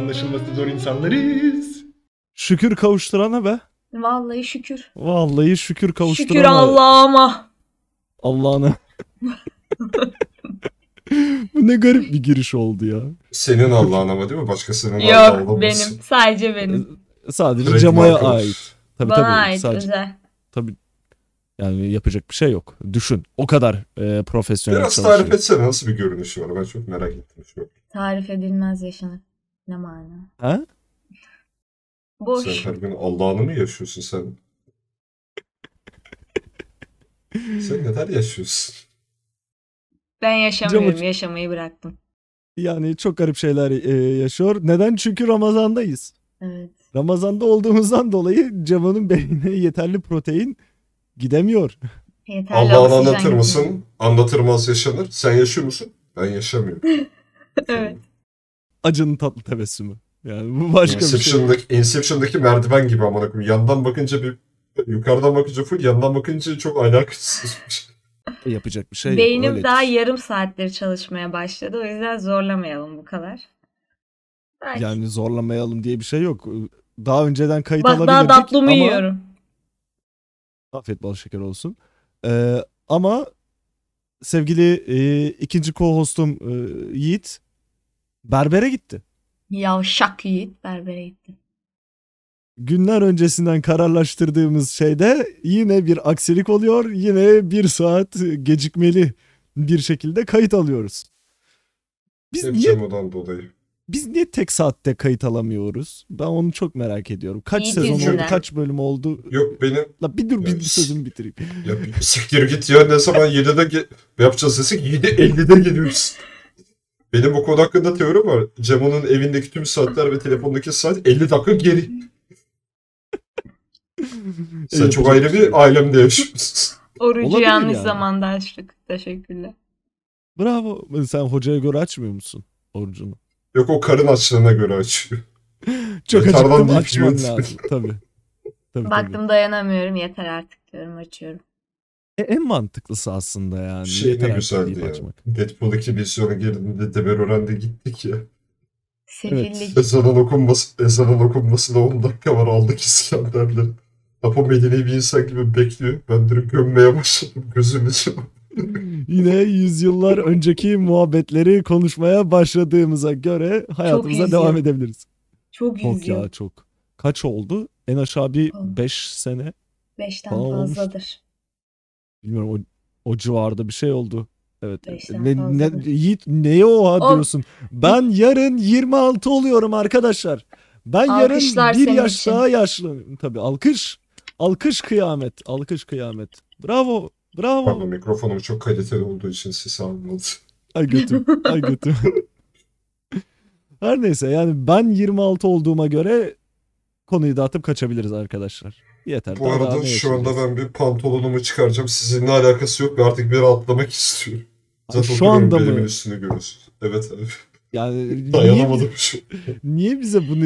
Anlaşılması zor insanlarız. Şükür kavuşturana be. Vallahi şükür. Vallahi şükür kavuşturana. Şükür Allah'ıma. Allah'ına. Bu ne garip bir giriş oldu ya. Senin Allah'ın ama değil mi? Başkasının Allah'ı Yok olamaz. benim. Sadece benim. Sadece Trademark Cema'ya olur. ait. Tabii Bana tabii. ait sadece- özel. yani yapacak bir şey yok. Düşün. O kadar e, profesyonel Biraz çalışıyor. tarif etsene nasıl bir görünüşü var? Ben çok merak ettim. Şu Tarif edilmez yaşanır. Ne mana. Ha? an. Boş. Sen her gün Allah'ını mı yaşıyorsun sen? sen neler yaşıyorsun? Ben yaşamıyorum. Camı- Yaşamayı bıraktım. Yani çok garip şeyler e, yaşıyor. Neden? Çünkü Ramazan'dayız. Evet. Ramazan'da olduğumuzdan dolayı Cema'nın beynine yeterli protein gidemiyor. Yeterli Allah'ını oksijen anlatır gibi. mısın? Anlatırmaz yaşanır. Sen yaşıyor musun? Ben yaşamıyorum. Evet. Acının tatlı tebessümü. Yani bu başka bir şey. Inception'daki, Inception'daki merdiven gibi amına koyayım. Yandan bakınca bir yukarıdan bakınca full, yandan bakınca çok alakasız. bir şey. Yapacak bir şey yok. Beynim Öyle daha yetiş- yarım saattir çalışmaya başladı. O yüzden zorlamayalım bu kadar. Belki. Yani zorlamayalım diye bir şey yok. Daha önceden kayıt Bak daha alabildik datlımı ama... yiyorum. Afiyet bal şeker olsun. Ee, ama sevgili e, ikinci co-hostum e, Yiğit berbere gitti. Yavşak yiğit berbere gitti. Günler öncesinden kararlaştırdığımız şeyde yine bir aksilik oluyor. Yine bir saat gecikmeli bir şekilde kayıt alıyoruz. Biz Hep niye Cemo'dan dolayı. biz niye tek saatte kayıt alamıyoruz? Ben onu çok merak ediyorum. Kaç Yiğit sezon oldu? yüzünden. Kaç bölüm oldu? Yok benim La bir dur bir Ya- bir sözümü bitireyim. Ya bir siktir git ya ne zaman 7'de ge- yapacağız desek 7.50'de geliyoruz. Benim bu konu hakkında teorim var. Cemo'nun evindeki tüm saatler ve telefondaki saat 50 dakika geri. Sen Evet, çok ayrı bir ailemde yaşıyorsun. Orucu Olabilir yanlış yani. zamanda açtık. Teşekkürler. Bravo. Sen hocaya göre açmıyor musun orucunu? Yok o karın açlığına göre açıyor. Çok Yeterden acıktım deyip açmam yiyorsun. lazım. Tabii. Tabii, tabii. Baktım dayanamıyorum yeter artık diyorum açıyorum. E, en mantıklısı aslında yani. Şey Yeter ne artık güzeldi deyip ya. açmak. Deadpool 2 vizyona girdiğinde Demir Ören'de gittik ya. Sefillik. Ezanın okunması, ezanın okunmasına 10 dakika var aldık İskender'le. Apo Medine'yi bir insan gibi bekliyor. Ben direkt gömmeye başladım gözümü. Yine yüzyıllar önceki muhabbetleri konuşmaya başladığımıza göre hayatımıza izliyorum. devam edebiliriz. Çok Çok ya üzüyor. çok. Kaç oldu? En aşağı bir Oldu. 5 sene. Beşten Falan olmuş. fazladır. Bilmiyorum o, o civarda bir şey oldu. Evet. Beşten Ne, ne, fazladır. Yiğit neye oha O- diyorsun? Ben yarın 26 oluyorum arkadaşlar. Ben Alkışlar yarın bir senin yaş için. daha yaşlanıyorum. Tabii alkış. Alkış kıyamet. Alkış kıyamet. Bravo. Bravo. Pardon mikrofonum çok kaliteli olduğu için ses almadı. Ay götüm. Ay götüm. Her neyse yani ben 26 olduğuma göre konuyu dağıtıp kaçabiliriz arkadaşlar. Yeter. Bu daha- daha arada ne şu anda yaşayacağız? ben bir pantolonumu çıkaracağım. Sizinle alakası yok ve artık bir atlamak istiyorum. Ay, Zaten şu anda Belimin mı? üstünü görüyorsun. Evet abi. Yani niye, Dayanamadım şu. niye bize bunu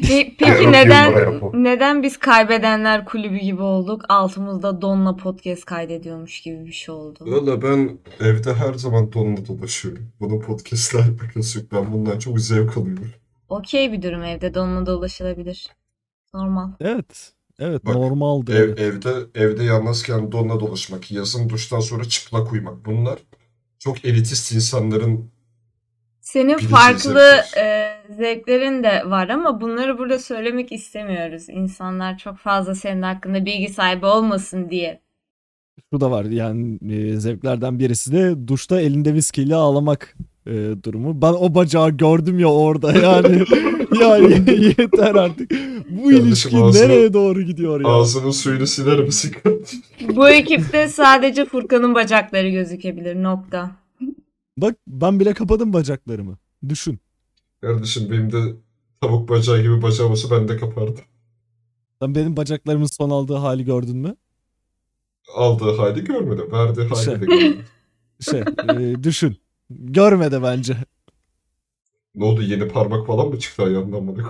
Pe- Yok, peki neden yumruğa yapalım. neden biz kaybedenler kulübü gibi olduk? Altımızda donla podcast kaydediyormuş gibi bir şey oldu. Valla ben evde her zaman donla dolaşıyorum. Bunun podcastler alakası yok. Ben bundan çok zevk alıyorum. Okey bir durum evde donla dolaşılabilir. Normal. Evet. Evet Bak, normaldı. Ev, evet. evde evde yalnızken donla dolaşmak, yazın duştan sonra çıplak uyumak. Bunlar çok elitist insanların Senin Bileceğiz farklı şey hepimiz. e, zevklerin de var ama bunları burada söylemek istemiyoruz. İnsanlar çok fazla senin hakkında bilgi sahibi olmasın diye. Şu da var yani e, zevklerden birisi de duşta elinde viskiyle ağlamak e, durumu. Ben o bacağı gördüm ya orada yani. yani yeter artık. Bu Kardeşim ilişki ağzına- nereye doğru gidiyor ya? ağzının suyunu siler misin kardeşim? Bu ekipte sadece Furkan'ın bacakları gözükebilir. Nokta. Bak ben bile kapadım bacaklarımı. Düşün. Kardeşim benim de tavuk bacağı gibi bacağım olsa ben de kapardım. Sen benim bacaklarımın son aldığı hali gördün mü? Aldığı hali görmedim. Verdiği Şey. hali de görmedim. Şey e, düşün. Görme de bence. Ne oldu yeni parmak falan mı çıktı ayağından bana?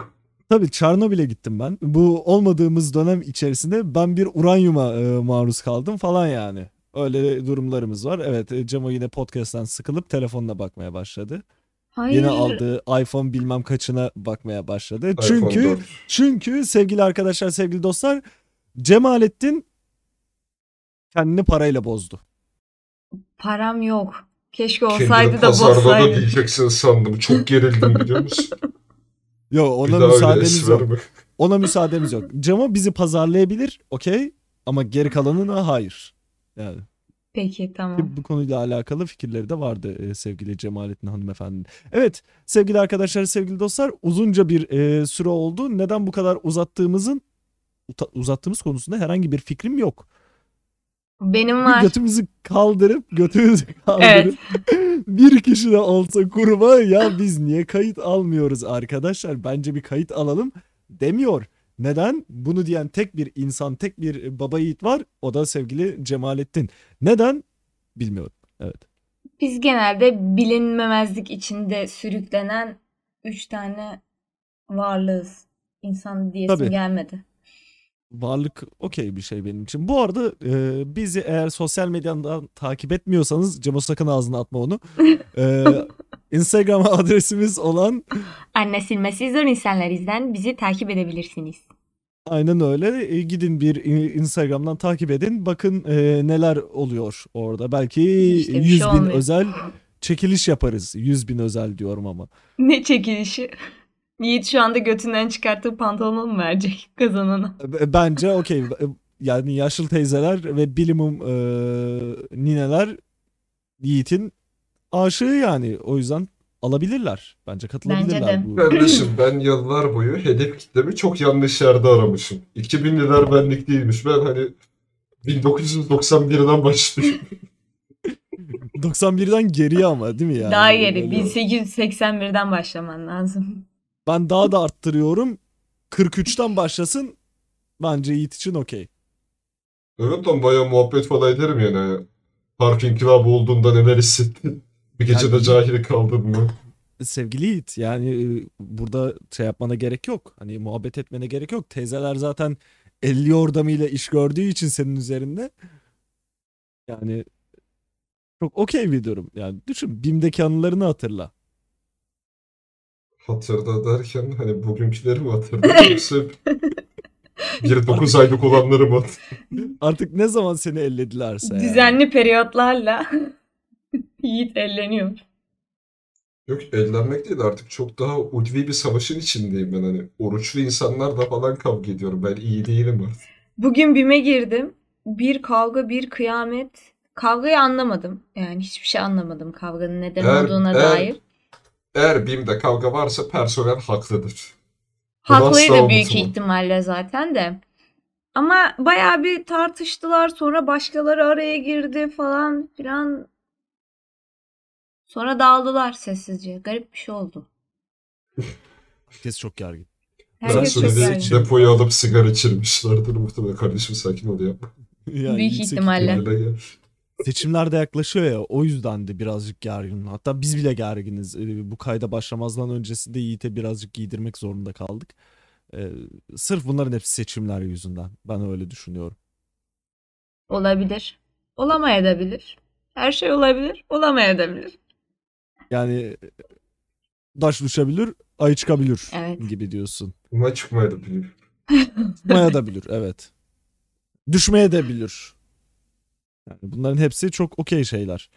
Tabii Çernobil'e gittim ben. Bu olmadığımız dönem içerisinde ben bir uranyuma e, maruz kaldım falan yani. Öyle durumlarımız var. Evet e, Cemo yine podcast'ten sıkılıp telefonuna bakmaya başladı. Hayır. Yeni aldığı iPhone bilmem kaçına bakmaya başladı. iPhone Çünkü 4. çünkü sevgili arkadaşlar, sevgili dostlar Cemalettin kendini parayla bozdu. Param yok. Keşke Kendini olsaydı da pazarda da bozsaydı. diyeceksin sandım. Çok gerildim biliyor musun? Yok Bir ona daha öyle müsaademiz es yok. verme. Ona müsaademiz yok. Cemo bizi pazarlayabilir okey ama geri kalanına hayır. Yani Peki tamam. ki bu konuyla alakalı fikirleri de vardı e, sevgili Cemalettin hanımefendinin. Evet sevgili arkadaşlar sevgili dostlar uzunca bir e, süre oldu. Neden bu kadar uzattığımızın uta- uzattığımız konusunda herhangi bir fikrim yok. Benim Bir var. Götümüzü kaldırıp götümüzü Evet. kaldırıp bir kişi de olsa kuruma ya biz niye kayıt almıyoruz arkadaşlar bence bir kayıt alalım demiyor. Neden? Bunu diyen tek bir insan, tek bir baba yiğit var. O da sevgili Cemalettin. Neden? Bilmiyorum. Evet. Biz genelde bilinmemezlik içinde sürüklenen üç tane varlığız. İnsan diyesim Tabii. gelmedi. Varlık okey bir şey benim için. Bu arada e, bizi eğer sosyal medyadan takip etmiyorsanız Cemo sakın ağzına atma onu. E, Instagram adresimiz olan Anne silmesi zor insanlarizden bizi takip edebilirsiniz. aynen öyle. E, gidin bir in- Instagram'dan takip edin. Bakın e, neler oluyor orada. Belki İşte bir 100 şey bin olmuyor. özel çekiliş yaparız. 100 bin özel diyorum ama. Ne çekilişi. Yiğit şu anda götünden çıkarttığı pantolonu mu verecek kazanana? E, Bence okey. E, Yani yaşlı teyzeler ve bilimum e, nineler Yiğit'in aşığı yani. O yüzden alabilirler. Bence katılabilirler. Bence de. bu- Kardeşim ben yıllar boyu hedef kitlemi çok yanlış yerde aramışım. 2000'liler benlik değilmiş. Ben hani 1991'den başlıyorum. 91'den geriye ama değil mi yani? Daha geri. Öyle. 1881'den başlaman lazım. Ben daha da arttırıyorum. 43'ten başlasın. Bence Yiğit için okey. Evet lan bayağı muhabbet falan ederim yani. Park inkılabı olduğunda neler hissettin? Bir gecede Yani- cahil kaldın mı? Sevgili Yiğit yani e, burada şey yapmana gerek yok. Hani muhabbet etmene gerek yok. Teyzeler zaten 50 yordamıyla iş gördüğü için senin üzerinde. Yani çok okey bir durum. Yani düşün BİM'deki anılarını hatırla. Hatırda derken hani bugünküleri mi hatırladın yoksa bir 9 aylık olanları mı hatırladın? Artık ne zaman seni elledilerse yani. Düzenli periyotlarla Yiğit elleniyor. Yok ellenmek değil artık çok daha ulvi bir savaşın içindeyim ben hani. Oruçlu insanlarla falan kavga ediyorum. Ben iyi değilim artık. Bugün BİM'e girdim. Bir kavga, bir kıyamet. Kavgayı anlamadım. Yani hiçbir şey anlamadım kavganın neden Eğer- olduğuna eğer- dair. Eğer BİM'de kavga varsa personel haklıdır. Bunu asla Haklıydı büyük unutamam. ihtimalle zaten de. Ama bayağı bir tartıştılar. Sonra başkaları araya girdi falan filan. Sonra dağıldılar sessizce. Garip bir şey oldu. Herkes çok gergin. Herkes çok söylediğin gergin. için- depoyu alıp sigara içirmişlerdir muhtemelen. Kardeşim sakin ol yapma. Yani Büyük yüksek ihtimalle. ihtimal- Kendine gel. Seçimler de yaklaşıyor ya o yüzden de birazcık gergin. Hatta biz bile gerginiz. Ee, Bu kayda başlamazdan öncesinde Yiğit'e birazcık giydirmek zorunda kaldık. Ee, sırf bunların hepsi seçimler yüzünden. Ben öyle düşünüyorum. Olabilir. Olamayabilir. Her şey olabilir. Olamayabilir. Yani e, daş düşebilir, ay çıkabilir Evet. gibi diyorsun. Buna çıkmaydı BİM. Maya da bilir, evet. Düşmeye de bilir. Yani bunların hepsi çok okey şeyler.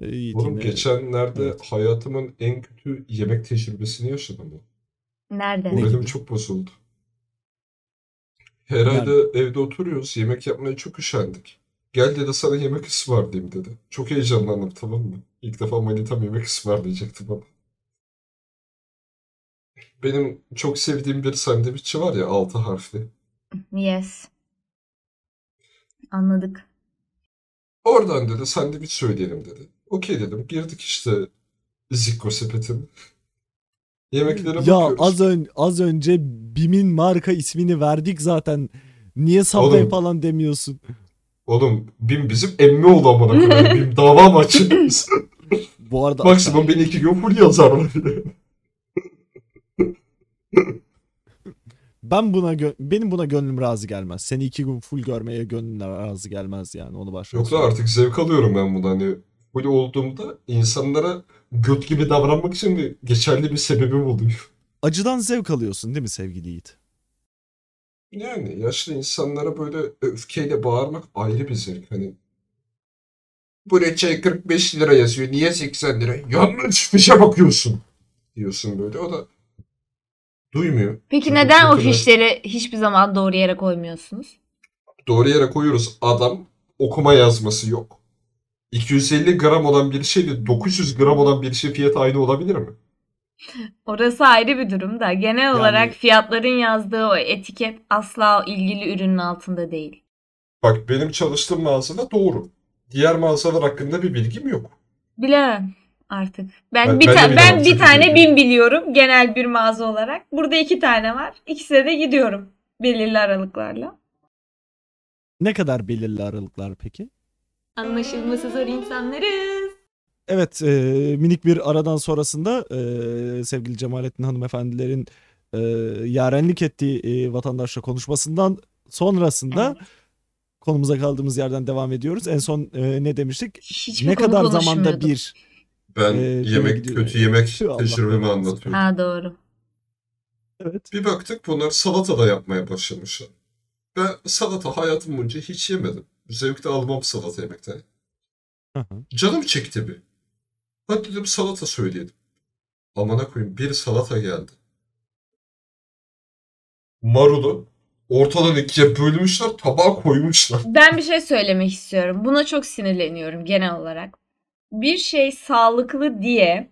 Ee, Yiğit Oğlum yine- geçenlerde Evet. hayatımın en kötü yemek tecrübesini yaşadım. ben. Nerede? Ne Moralim gibi? çok bozuldu. Herhalde evde oturuyoruz. Yemek yapmaya çok üşendik. Gel dedi sana yemek ısmarlayayım dedi. Çok heyecanlandım tamam mı? İlk defa manitam yemek ısmarlayacaktı bana. Benim çok sevdiğim bir sandviççi var ya altı harfli. Yes. Anladık. Oradan dedi sandviç söyleyelim dedi. Okey dedim. Girdik işte Zikko sepetine. Yemeklere Ya bakıyoruz. az ön az önce BİM'in marka ismini verdik zaten. Niye Subway Oğlum. falan demiyorsun? Oğlum BİM bizim emmi oldu amına koyayım. BİM dava mı açıyoruz? Bu arada Maksimum beni iki gün full yazarlar bile. ben buna gö- benim buna gönlüm razı gelmez. Seni iki gün full görmeye gönlüm razı gelmez yani onu başka. Yok lan artık zevk alıyorum ben bundan. Hani böyle olduğumda insanlara göt gibi davranmak için bir geçerli bir sebebim oluyor. Acıdan zevk alıyorsun değil mi sevgili Yiğit? Yani yaşlı insanlara böyle öfkeyle bağırmak ayrı bir zevk. Hani bu reçel 45 lira yazıyor. Niye 80 lira? Yanlış fişe bakıyorsun diyorsun böyle. O da duymuyor. Peki Tabii, neden o çok önemli. fişleri hiçbir zaman doğru yere koymuyorsunuz? Doğru yere koyuyoruz. Adam okuma yazması yok. 250 gram olan bir şey şeyle 900 gram olan bir şey fiyatı aynı olabilir mi? Orası ayrı bir durum da genel olarak fiyatların yazdığı o etiket asla o ilgili ürünün altında değil. Bak benim çalıştığım mağazada doğru. Diğer mağazalar hakkında bir bilgim yok. Bilemem artık. Ben, Ben- bir ben de ta- bilemem ben bir çünkü tane bilmiyorum. bin biliyorum genel bir mağaza olarak. Burada iki tane var. İkisine de gidiyorum belirli aralıklarla. Ne kadar belirli aralıklar peki? Anlaşılması zor insanlarız. Evet e, minik bir aradan sonrasında e, sevgili Cemalettin hanımefendilerin e, yarenlik ettiği e, vatandaşla konuşmasından sonrasında konumuza kaldığımız yerden devam ediyoruz. En son e, ne demiştik? Hiç ne kadar zamanda bir Ben Ee, yemek gidiyor. kötü yemek Tüh, Allah tecrübemi Allah. anlatıyorum. Ha doğru. evet Bir baktık bunlar salata da yapmaya başlamışlar. Ben salata hayatım boyunca hiç yemedim. Zevk de almam salata yemekten. Hı hı. Canım çekti bir. Hadi dedim salata söyleyelim. Amına koyayım bir salata geldi. Marulu ortadan ikiye bölmüşler tabağa koymuşlar. Ben bir şey söylemek istiyorum. Buna çok sinirleniyorum genel olarak. Bir şey sağlıklı diye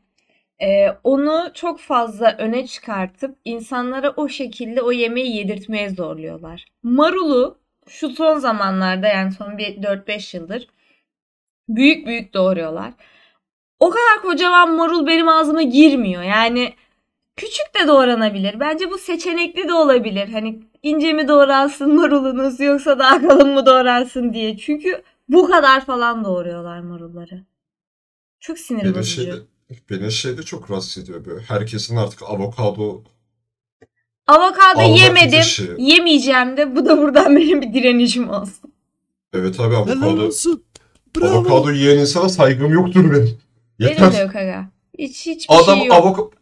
e, onu çok fazla öne çıkartıp insanlara o şekilde o yemeği yedirtmeye zorluyorlar. Marulu şu son zamanlarda yani son bir 4-5 yıldır büyük büyük doğuruyorlar. O kadar kocaman marul benim ağzıma girmiyor. Yani küçük de doğranabilir. Bence bu seçenekli de olabilir. Hani ince mi doğransın marulunuz yoksa daha kalın mı doğransın diye. Çünkü bu kadar falan doğuruyorlar marulları. Çok sinir Beni bozucu. şeyde, beni şeyde çok rahatsız ediyor böyle. Herkesin artık avokado Avokado Avokado yemedim, dışı. yemeyeceğim de bu da buradan benim bir direnişim olsun. evet abi helal avokado olsun bravo avokado yiyen insana saygım yoktur benim. Benim de yok aga. Hiç hiçbir Adam şey yok. avok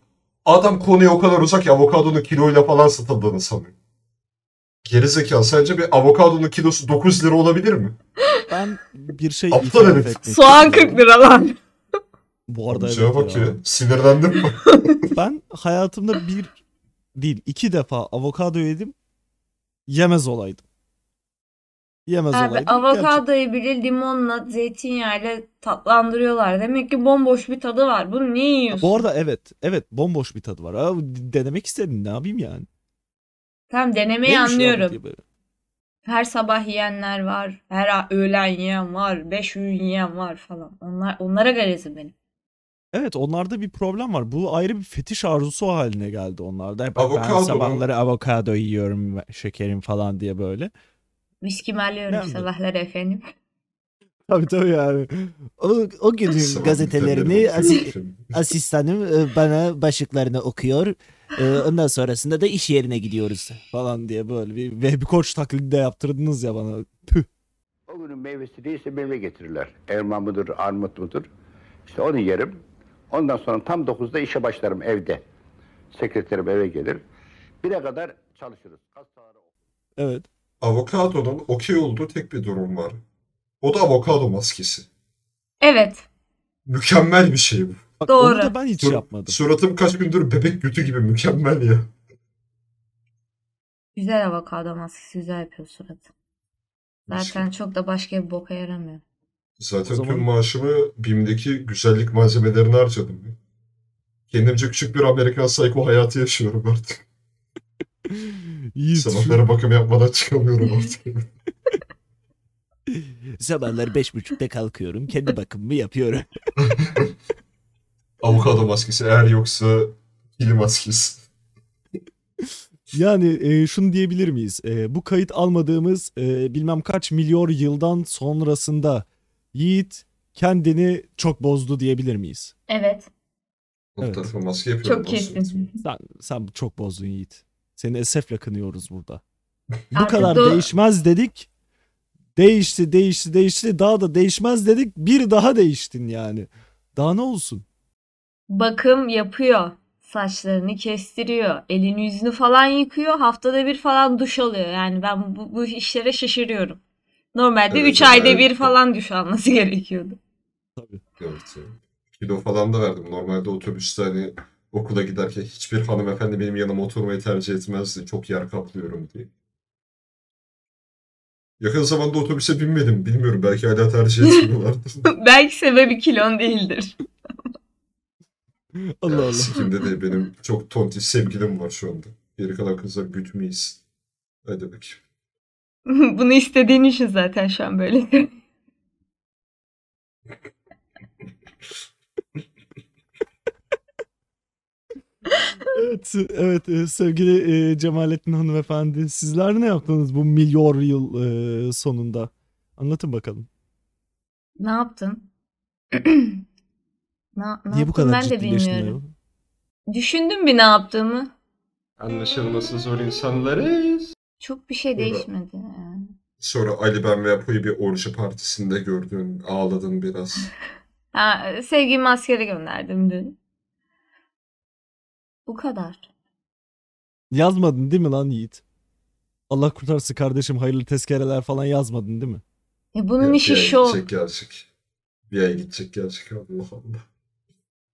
adam konuya o kadar uzak ki avokadonun kiloyla falan satıldığını sanıyor. Gerizekalı sence bir avokadonun kilosu 9 lira olabilir mi? ben bir şey Aptal itiraf herif. etmek Soğan istiyorum. 40 lira lan. Bu arada Cevap evet bak ya. ya. Şey Sinirlendim mi? Ben hayatımda bir değil iki defa avokado yedim. Yemez olaydım. Yemez Abi olaydım. Gerçekten. avokadoyu bile limonla, zeytinyağıyla tatlandırıyorlar. Demek ki bomboş bir tadı var. Bunu niye yiyorsun? Bu arada evet. Evet bomboş bir tadı var. Aa, denemek istedim ne yapayım yani. Tamam denemeyi Neymiş lan bu anlıyorum. diye böyle. Her sabah yiyenler var. Her a- öğlen yiyen var. Beş öğün yiyen var falan. Onlar, onlara garezim benim. Evet onlarda bir problem var. Bu ayrı bir fetiş arzusu haline geldi onlarda. Hep ben Avokado. sabahları avokado yiyorum şekerim falan diye böyle. Viskimi alıyorum Nerede? sabahları efendim. Tabii tabii yani. O, o günün Sabah gazetelerini internetten asi- bakıyorum. asistanım e, bana başlıklarını okuyor. E, Ondan sonrasında da iş yerine gidiyoruz falan diye böyle bir Vehbi Koç taklidi de yaptırdınız ya bana. Püh. O günün meyvesi değilse meyve getirirler. Elma mıdır, armut mudur? İşte onu yerim. Ondan sonra tam 9'da işe başlarım evde. Sekreterim eve gelir. Bire kadar çalışırız. Hastalara- Evet. Avokadonun okey olduğu tek bir durum var. O da avokado maskesi. Evet. Mükemmel bir şey bu. Bak Doğru. onu da ben hiç Sur- yapmadım. Suratım kaç gündür bebek götü gibi mükemmel ya. Güzel avokado maskesi güzel yapıyor suratı. Zaten çok da başka bir boka yaramıyor. Zaten O zaman- tüm maaşımı BİM'deki güzellik malzemelerine harcadım. Kendimce küçük bir Amerikan psycho hayatı yaşıyorum artık. Yiğit, şu- Sabahları bakım yapmadan çıkamıyorum artık. Sabahları beş buçukta kalkıyorum. Kendi bakımımı yapıyorum. Avokado maskesi eğer yoksa pil maskesi. Yani e, şunu diyebilir miyiz? E, bu kayıt almadığımız e, bilmem kaç milyon yıldan sonrasında Yiğit kendini çok bozdu diyebilir miyiz? Evet. Alt Evet. tarafa maske yapıyorum. Çok kesin. aslında. Sen, sen çok bozdun Yiğit. Seni esefle kınıyoruz burada. Bu Artık kadar do- değişmez dedik. Değişti, değişti, değişti. Daha da değişmez dedik. Bir daha değiştin yani. Daha ne olsun? Bakım yapıyor. Saçlarını kestiriyor. Elini yüzünü falan yıkıyor. Haftada bir falan duş alıyor. Yani ben bu, bu işlere şaşırıyorum. Normalde Evet, 3 ayda evet. bir falan duş alması gerekiyordu. Evet. yani. Kilo falan da verdim. Normalde otobüste hani okula giderken hiçbir hanımefendi benim yanıma oturmayı tercih etmezdi. Çok yer kaplıyorum diye. Yakın zamanda otobüse binmedim. Bilmiyorum belki hala tercih etmiyorlardır. Belki sebebi kilon değildir. Allah Allah. Sikimde de benim çok tonti sevgilim var şu anda. Geri kalan kızlar bütmeyiz. Ne demek? Bunu istediğin için zaten şu an böyle. Evet, evet e, sevgili e, Cemalettin hanımefendi sizler ne yaptınız bu milyar yıl e, sonunda? Anlatın bakalım. Ne yaptın? ne, ne Niye bu yaptım kadar ben de ciddileştin bilmiyorum. Düşündüm bir ne yaptığımı. Anlaşılması zor insanlarız. Çok bir şey Buyurun. değişmedi. yani. Sonra Ali ben ve Apo'yu bir orji partisinde gördün. Ağladın biraz. Ha, e, sevgimi askere gönderdim dün. Bu kadar. ya? Yazmadın değil mi lan Yiğit? Allah kurtarsın kardeşim hayırlı tezkereler falan yazmadın değil mi? E bunun Evet, işi bir ay şov. şey Gidecek gelecek. Bir ay gidecek gelecek. Allah Allah.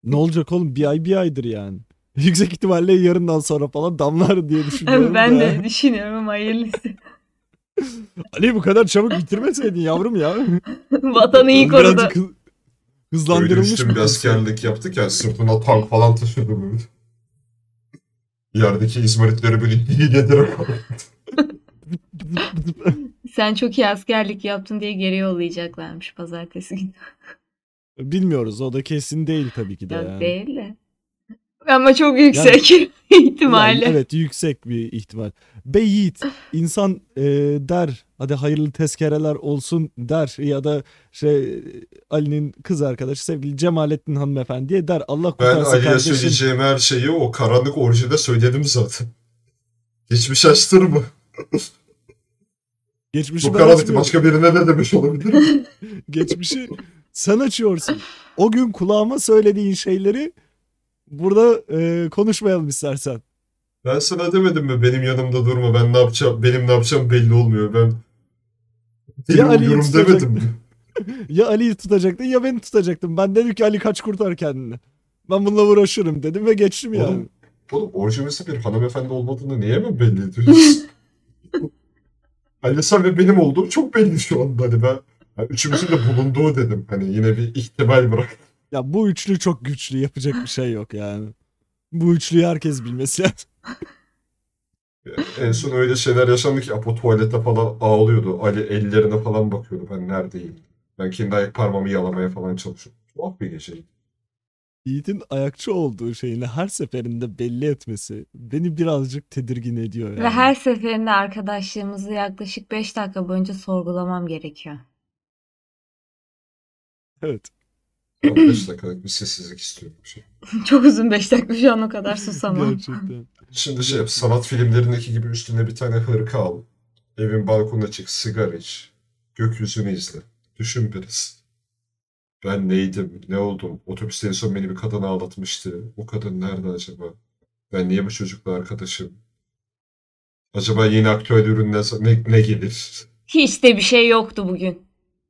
Ne olacak oğlum bir ay bir aydır yani. Yüksek ihtimalle yarından sonra falan damlar diye düşünüyorum ben da. de düşünüyorum ama hayırlısı. Ali bu kadar çabuk bitirmeseydin yavrum ya. Vatanı iyi korudu. Birazcık hı- Böyle hızlandırılmış üstün mı bir askerlik yaptık ya sırtına tank falan taşıyordu böyle. Yerdeki izmaritleri böyle yedirerek Sen çok iyi askerlik yaptın diye geri yollayacaklarmış pazartesi günü. Bilmiyoruz o da kesin değil tabii ki de. Yok yani. değil de. Ama çok yüksek ihtimalle. Yani evet yüksek bir ihtimal. Be Yiğit insan e, der hadi hayırlı tezkereler olsun der ya da şey e, Ali'nin kız arkadaşı sevgili Cemalettin hanımefendiye der Allah Ben kurtarsın Ali'ye kardeşim. söyleyeceğim her şeyi o karanlık orjide söyledim zaten. Hiçbir şaştırma. Geçmişi Bu ben karanlık açmıyorum. başka birine ne demiş olabilir? Geçmişi sen açıyorsun. O gün kulağıma söylediğin şeyleri burada e, konuşmayalım istersen. ben sana demedim mi benim yanımda durma ben ne yapacağım benim ne yapacağım belli olmuyor ben. Deli Ya Ali'yi oluyorum tutacak- demedim mi? Ya Ali'yi tutacaktın ya beni tutacaktın. Ben dedim ki Ali kaç kurtar kendini. Ben bununla uğraşırım dedim ve geçtim yani. Oğlum, oğlum orijinalisi bir hanımefendi olmadığını niye mi belli ediyorsun? hani sen ve benim olduğum çok belli şu anda. Hani ben hani üçümüzün de bulunduğu dedim. Hani yine bir ihtimal bırak. Ya bu üçlü çok güçlü. Yapacak bir şey yok yani. Bu üçlüyü herkes bilmesi lazım. En son öyle şeyler yaşandı ki Apo tuvalette falan ağlıyordu. Ali ellerine falan bakıyordu. Ben neredeyim? Ben kendi ayak parmağımı yalamaya falan çalışıyordum. Tuhaf bir gece. Yiğit'in ayakçı olduğu şeyini her seferinde belli etmesi beni birazcık tedirgin ediyor yani. Ve her seferinde arkadaşlığımızı yaklaşık 5 dakika boyunca sorgulamam gerekiyor. Evet. 15 dakikalık bir sessizlik istiyorum. Şey. Çok uzun 5 dakika şu an o kadar susamam. Gerçekten. Şimdi şey yap, sanat filmlerindeki gibi üstüne bir tane hırka al. Evin balkonuna çık, sigara iç. Gökyüzünü izle. Düşün biraz. Ben neydim, ne oldum? Otobüste en son beni bir kadın ağlatmıştı. O kadın nerede acaba? Ben niye bu çocukla arkadaşım? Acaba yeni aktüel ürün ne, ne, ne gelir? Hiç de bir şey yoktu bugün.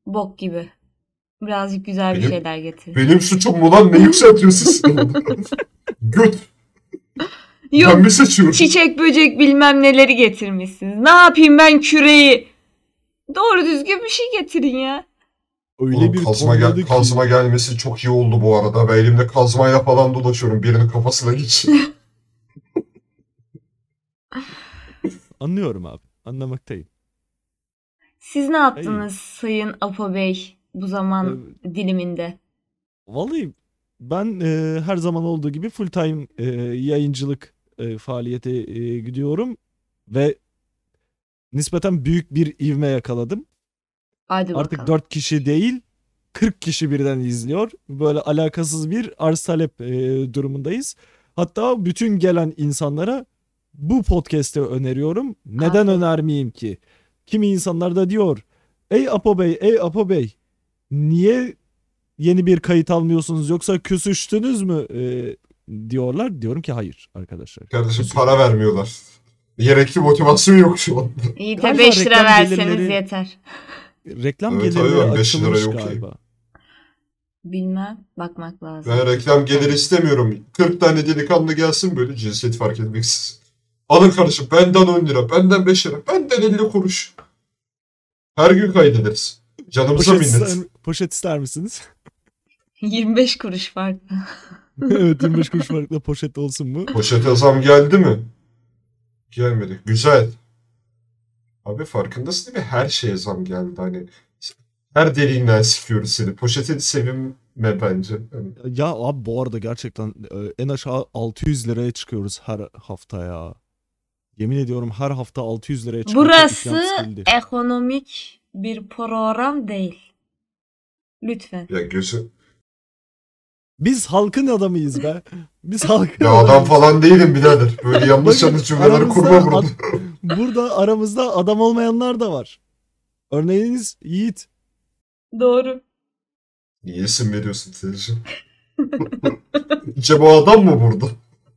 Bok gibi. Birazcık güzel bir Benim- şeyler getir. Benim suçum mu lan? Ne yükseltiyorsun sen? Göt, Yok ben mi seçiyorum? çiçek böcek bilmem neleri getirmişsiniz. Ne yapayım ben küreyi? Doğru düzgün bir şey getirin ya. Öyle Oğlum bir kazma, gel- tonladı ki. kazma gelmesi çok iyi oldu bu arada. Ben elimde kazmayla falan dolaşıyorum. Birinin kafasına geç. Anlıyorum abi. Anlamaktayım. Siz ne yaptınız Sayın Apo Bey bu zaman diliminde? Ee, Vallahi ben e, her zaman olduğu gibi full time e, yayıncılık e, faaliyete e, gidiyorum ve nispeten büyük bir ivme yakaladım. Hadi Artık bakalım. 4 kişi değil 40 kişi birden izliyor. Böyle alakasız bir arz talep e, durumundayız. Hatta bütün gelen insanlara bu podcast'i öneriyorum. Neden Aferin. önermeyeyim ki? Kimi insanlar da diyor Ey Apo Bey, ey Apo Bey. Niye yeni bir kayıt almıyorsunuz yoksa küsüştünüz mü? Ee, diyorlar. Diyorum ki hayır arkadaşlar. Kardeşim para vermiyorlar. Gerekli motivasyon yok şu an. İyi de Galiba 5 lira reklam verseniz gelirleri- yeter. Reklam Evet, gelirleri harbiden beş lira açılmış yok ki. galiba. Bilmem. Bakmak lazım. Ben reklam geliri istemiyorum. 40 tane delikanlı gelsin böyle cinsiyet fark etmeksiz. Alın kardeşim benden 10 lira, benden 5 lira, benden 50 kuruş. Her gün kaydederiz. Canımıza Poşet minnet. ister, poşet ister misiniz? 25 kuruş farklı. evet 25 kuruş farkla poşet olsun mu? Poşete zam geldi mi? Gelmedi. Güzel. Abi farkındasın değil mi? Her şeye zam geldi. Hani her deliğinden sikiyoruz seni. Poşetini sevinme bence. Hani Ya abi bu arada gerçekten e, en aşağı 600 liraya çıkıyoruz her hafta ya. Yemin ediyorum her hafta 600 liraya çıkıyor. Burası ekonomik bir program değil. Lütfen. ya gözü... Biz halkın adamıyız be. Biz halkın Ya adam adamıyız. falan değilim birader. Böyle yanlış Bakın, yanlış cümleler aramızda kurma burada. ad- burada aramızda adam olmayanlar da var. Örneğiniz Yiğit. Doğru. Niye isim veriyorsun teyzeciğim? İşte bu adam mı burada?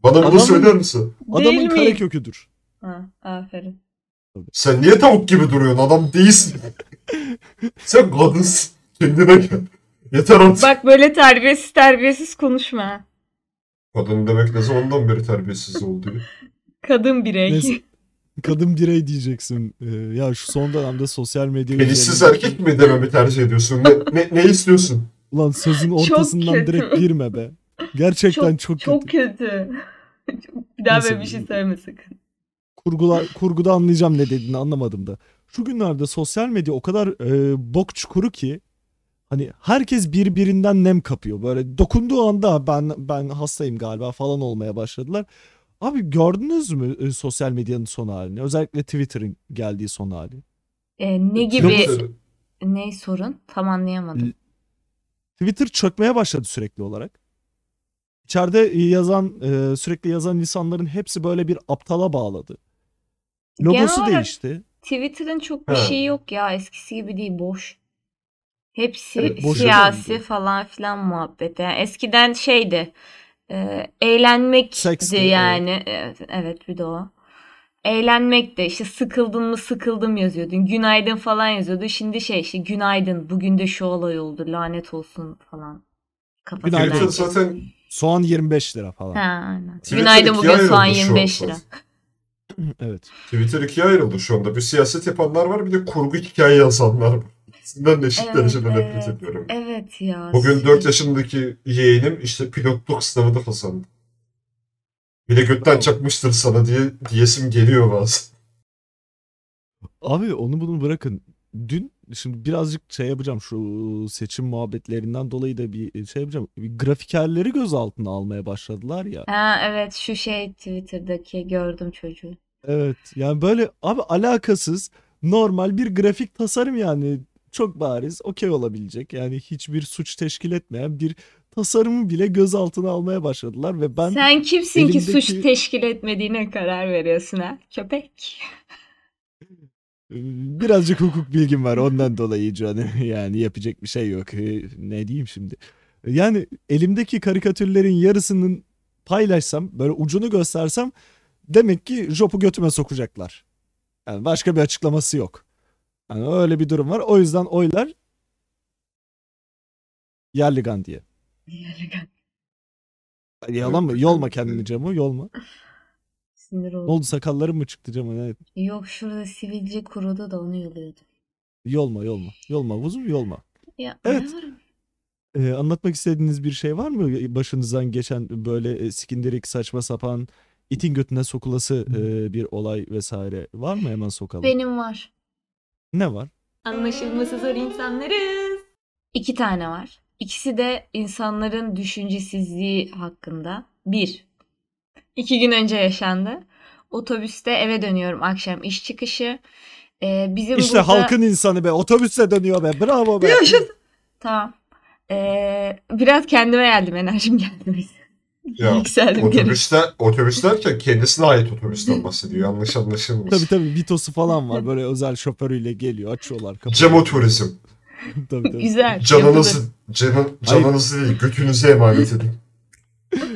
Bana bunu Adam mı? söyler misin? Değil Adamın miyim? kare köküdür. Ha, aferin. Sen niye tavuk gibi duruyorsun? Adam değilsin. Sen kadınsın. Kendine gel. Yeter artık. Bak böyle terbiyesiz terbiyesiz konuşma. ha. Kadın demek ne zamandan beri terbiyesiz oldu? ya? Kadın birey. Neyse. Kadın birey diyeceksin. Ee, ya şu son dönemde sosyal medya Penisiz üzerinde- erkek mi dememi tercih ediyorsun? Ne, ne, ne istiyorsun? Ulan sözün Çok ortasından kötü. direkt girme be. Gerçekten çok, Çok kötü. kötü. bir daha Neyse, böyle bir şey söyleme sakın. Kurgula, kurguda anlayacağım ne dediğini anlamadım da. Şu günlerde sosyal medya o kadar e, bok çukuru ki hani herkes birbirinden nem kapıyor. Böyle dokunduğu anda ben ben hastayım galiba falan olmaya başladılar. Abi gördünüz mü e, sosyal medyanın son halini? Özellikle Twitter'ın geldiği son hali. Ee, ne gibi Yoksa- ne sorun? Tam anlayamadım. Twitter çökmeye başladı sürekli olarak. İçeride e, yazan e, sürekli yazan insanların hepsi böyle bir aptala bağladı. Logosu Genel olarak- değişti. Twitter'ın çok bir Ha. şeyi yok ya. Eskisi gibi değil boş. Hepsi Evet, boşa siyasi döndü. falan filan muhabbet. Yani eskiden şeydi. E, eğlenmekti Seksti, yani. Evet, evet bir de o. Eğlenmek de işte sıkıldın mı sıkıldım yazıyordun. Günaydın falan yazıyordu. Şimdi şey işte günaydın bugün de şu olay oldu lanet olsun falan. Kafasına Günaydın. Twitter geldi. zaten... Soğan 25 lira falan. Ha, aynen. Twitter Günaydın ikiye bugün ayrıldı soğan şu an 25 zaten. lira. Evet. Twitter ikiye ayrıldı şu anda. Bir siyaset yapanlar var bir de kurgu hikaye yazanlar var. İkisinden de eşit Evet, derecede nefret evet. ediyorum. Evet ya. Bugün 4 yaşındaki yeğenim işte pilotluk sınavını kazandı. Bir de götten çakmıştır sana diye diyesim geliyor bazen. Abi onu bunu bırakın. Dün şimdi birazcık şey yapacağım şu seçim muhabbetlerinden dolayı da bir şey yapacağım. Bir grafikerleri gözaltına almaya başladılar ya. Ha evet şu şey Twitter'daki gördüm çocuğu. Evet. Yani böyle abi alakasız normal bir grafik tasarım yani çok bariz okey olabilecek. Yani hiçbir suç teşkil etmeyen bir tasarımı bile gözaltına almaya başladılar ve ben Sen kimsin ki elimdeki- suç teşkil etmediğine karar veriyorsun ha köpek. Ee, Birazcık hukuk bilgim var ondan dolayı canım yani yapacak bir şey yok. Ee, Ne diyeyim şimdi? Yani elimdeki karikatürlerin yarısının paylaşsam böyle ucunu göstersem demek ki jopu götüme sokacaklar. Yani başka bir açıklaması yok. Yani öyle bir durum var. O yüzden oylar Yerligan diye. Ay, Yalan mı? Yolma kendini camı yolma. Sinir Ne oldum. oldu sakalların mı çıktı camı? Ne? Yok şurada sivilce kurudu da onu yoluyordum. Yolma yolma. Yolma uzun yolma. Ya, Evet. ne var? Ee, anlatmak istediğiniz bir şey var mı? Başınızdan geçen böyle e, sikindirik saçma sapan itin götüne sokulası e, bir olay vesaire var mı? Hemen sokalım. Benim var. Ne var? Anlaşılması zor insanlarız. İki tane var. İkisi de insanların düşüncesizliği hakkında. Bir, iki gün önce yaşandı. Otobüste eve dönüyorum akşam iş çıkışı. Ee, bizim İşte burada... halkın insanı be. Otobüsle dönüyor be. Bravo be. Yaşasın. Tamam. Ee, biraz kendime geldim enerjim geldi. Ya, Yükseldim gene. Otobüsler, otobüs derken kendisine ait otobüsten bahsediyor. Yanlış anlaşılmasın. Tabii tabii Vitos'u falan var. Böyle özel şoförüyle geliyor. Açıyorlar kapıyı. Cemo turizm. tabii tabii. Güzel. yapılır. Canınızı, canın, canınızı değil götünüze emanet edin.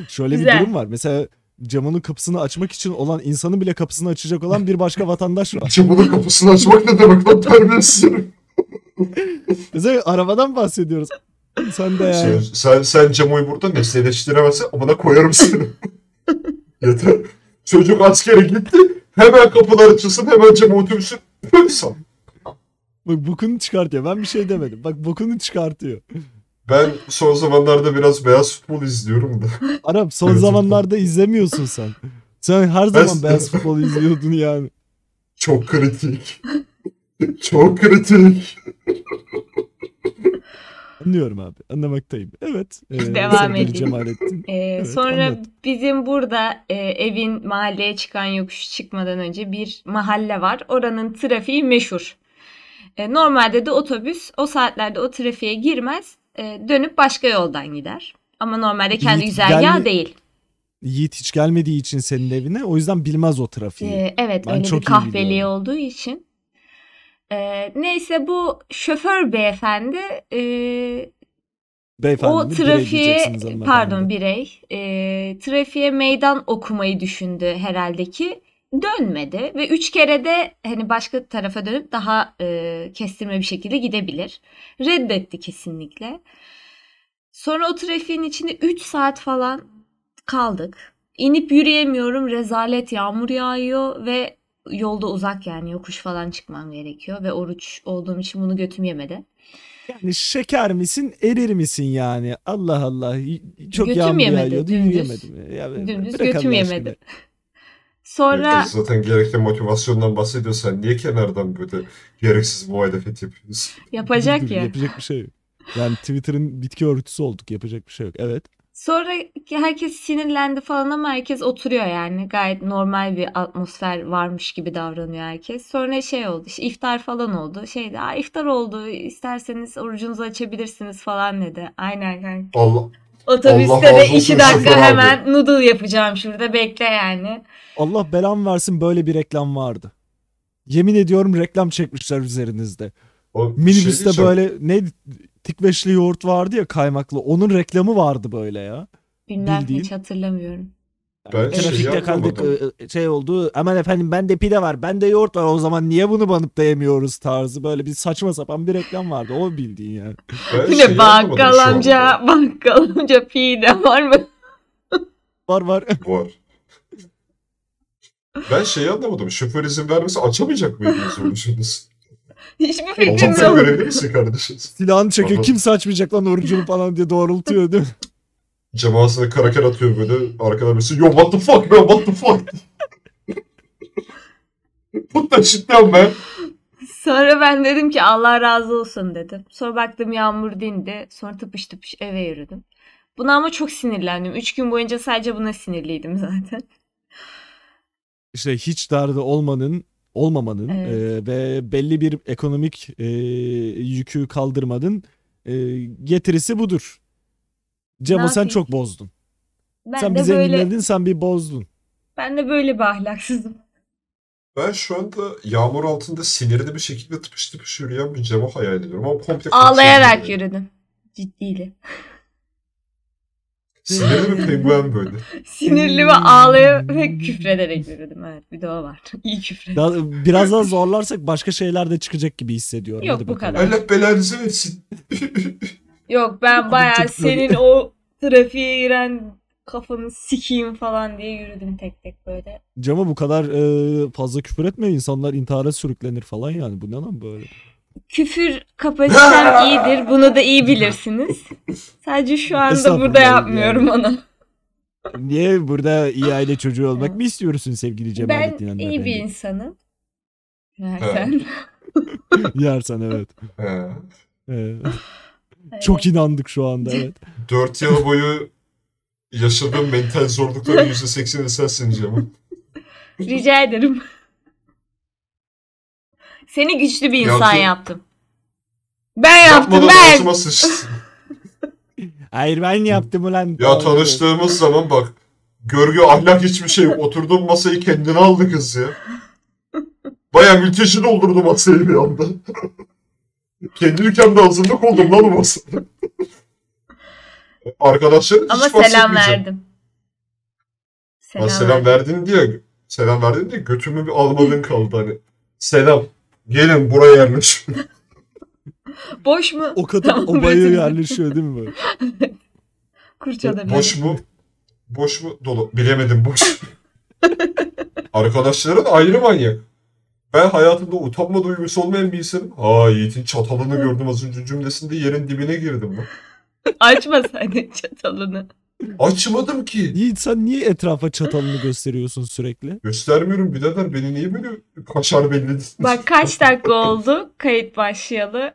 Şöyle Güzel. bir durum var. Mesela camının kapısını açmak için olan insanın bile kapısını açacak olan bir başka vatandaş var. Camının kapısını açmak ne demek lan terbiyesiz herif. Mesela arabadan bahsediyoruz. Sen de Sen, yani. sen, sen Cemo'yu burada nesneleştiremezsen amına koyarım seni. Yeter. Çocuk askere gitti. Hemen kapılar açılsın. Hemen Cemo otobüsü. Sen. Bak bokunu çıkartıyor. Ben bir şey demedim. Bak bokunu çıkartıyor. Ben son zamanlarda biraz beyaz futbol izliyorum da. Arap son Evet, zamanlarda izlemiyorsun sen. Sen her zaman beyaz futbol izliyordun yani. Çok kritik. Çok kritik. Anlıyorum abi. Anlamaktayım. Evet. Ee, Devam sevgili edeyim. Cemalettin. Ee, Evet, sonra anlat. bizim burada e, evin mahalleye çıkan yokuş çıkmadan önce bir mahalle var. Oranın trafiği meşhur. E, normalde de otobüs o saatlerde o trafiğe girmez. E, dönüp başka yoldan gider. Ama normalde kendi Yiğit güzergahı geldi- değil. Yiğit hiç gelmediği için senin evine. O yüzden bilmez o trafiği. Ee, evet Ben öyle çok bir iyi kahveliği biliyorum. olduğu için. Ee, neyse bu şoför beyefendi e, Beyefendi o birey trafiğe diyeceksiniz hanımefendi. pardon birey e, trafiğe meydan okumayı düşündü herhalde ki dönmedi ve üç kere de hani başka tarafa dönüp daha e, kestirme bir şekilde gidebilir. Reddetti kesinlikle. Sonra o trafiğin içinde 3 saat falan kaldık. İnip yürüyemiyorum. Rezalet yağmur yağıyor ve yolda uzak yani yokuş falan çıkmam gerekiyor ve oruç olduğum için bunu götüm yemedi. Yani şeker misin erir misin yani? Allah Allah. y- Çok Götüm yağmur yemedi, yağıyordu, dümdüz. yürüyemedim. Ya, Dümdüz bırak götüm Allah yemedi. aşkına. Sonra Zaten gerekli motivasyondan bahsediyorsan niye kenardan böyle gereksiz muhalefet yapıyorsun? yapacak Dümdüz, ya. Yapacak bir şey yok. Yani Twitter'ın bitki örtüsü olduk. Yapacak bir şey yok. Evet. Sonra herkes sinirlendi falan ama herkes oturuyor yani. Gayet normal bir atmosfer varmış gibi davranıyor herkes. Sonra şey oldu işte iftar falan oldu. Şey de "Aa, iftar oldu isterseniz orucunuzu açabilirsiniz falan dedi. Aynen kanka. Allah, Allah Otobüste razı de olsun iki dakika şoför abi. hemen noodle yapacağım şurada bekle yani. Allah belam versin böyle bir reklam vardı. Yemin ediyorum reklam çekmişler üzerinizde. o şey Minibüste diyeceğim. böyle ne tikveşli yoğurt vardı ya kaymaklı. Onun reklamı vardı böyle ya. Bilmem Bildiğin. hiç hatırlamıyorum. Ben şey Trafikte kaldık anlamadım. e, e, şey oldu. Aman efendim bende pide var, bende yoğurt var. O zaman niye bunu banıp da yemiyoruz tarzı böyle bir saçma sapan bir reklam vardı. O bildiğin yani. Ben Bir şeyi de anlamadım şu bakkal anda. amca, bakkal amca pide var mı? Var var. Var. Ben şeyi anlamadım. Şoför izin vermesi açamayacak mıydınız orucunuz? Hiçbir fikrim Allah'tan yok. görevli misin kardeşim? Silahını çekiyor. Aha. Kimse açmayacak lan orucunu falan diye doğrultuyor değil mi? Cemaatine karaker atıyor böyle. Arkadan birisi yo what the fuck man what the fuck. Put that shit down man. Sonra ben dedim ki Allah razı olsun dedim. Sonra baktım yağmur dindi. Sonra tıpış tıpış eve yürüdüm. Buna ama çok sinirlendim. Üç gün boyunca sadece buna sinirliydim zaten. İşte hiç derdi olmanın olmamanın Evet. e, ve belli bir ekonomik e, yükü kaldırmanın e, getirisi budur. Cemo sen yapayım? çok bozdun. Ben sen bir de böyle zenginledin sen bir bozdun. ben de böyle bir ahlaksızım. Ben şu anda yağmur altında sinirli bir şekilde tıpış tıpış yürüyen bir Cemo hayal ediyorum. Ama komple Ağlayarak kaçıyor. yürüdüm. Ciddiyle. Sinirli bir penguen böyle. Sinirli ve Hmm. ağlayarak ve küfrederek yürüdüm. Evet bir de o var. İyi küfür. Daha- biraz daha zorlarsak başka şeyler de çıkacak gibi hissediyorum. Yok, Hadi bu bakalım. kadar. Allah belanızı versin. Yok ben Abi bayağı çok- senin o trafiğe giren kafanı sikeyim falan diye yürüdüm tek tek böyle. Cema bu kadar e, fazla küfür etme insanlar intihara sürüklenir falan yani bu ne lan böyle. küfür kapasitem iyidir. Bunu da iyi bilirsiniz. Sadece şu anda Estağfurullah burada yapmıyorum onu. Niye burada iyi aile çocuğu olmak mı istiyorsun sevgili ben Cemalettin iyi bir hanımefendi? insanım. Versen. Yersen evet. He. Evet. Çok inandık şu anda evet. 4 yıl boyu yaşadığım mental zorlukların %80'i sensin Cem'im. Rica ederim. Seni güçlü bir Yaptın. insan yaptım. Ben yaptım Yapmadan ben. ağzıma sıçtın. Hayır ben yaptım ulan. Ya tanıştığımız zaman bak görgü ahlak hiçbir şey yok. Oturduğum masayı kendine aldı kız ya. Baya mülteşi doldurdu masayı bir anda. Kendi dükkanda hazırlık oldum lan o masada. Arkadaşlarım hiç Ama bahsetmeyeceğim. selam verdim. Lan selam verdin diye selam verdin diye götümü bir almadın kaldı hani. Selam. Gelin buraya yerleş. Boş mu? O kadar Tamam, obaya bırakın. yerleşiyor değil mi böyle? Kurçada Boş bir. mu? Boş mu? Dolu. Bilemedim boş. Arkadaşların ayrı manyak. Ben hayatımda utanma duygusu olmayan bir insanım. Ha Yiğit'in çatalını gördüm az önce cümlesinde yerin dibine girdim. lan. Açmasaydın çatalını. Açmadım ki. Yiğit sen niye etrafa çatalını gösteriyorsun sürekli? Göstermiyorum birader beni niye böyle kaşar belli Bak kaç dakika oldu kayıt başlayalı?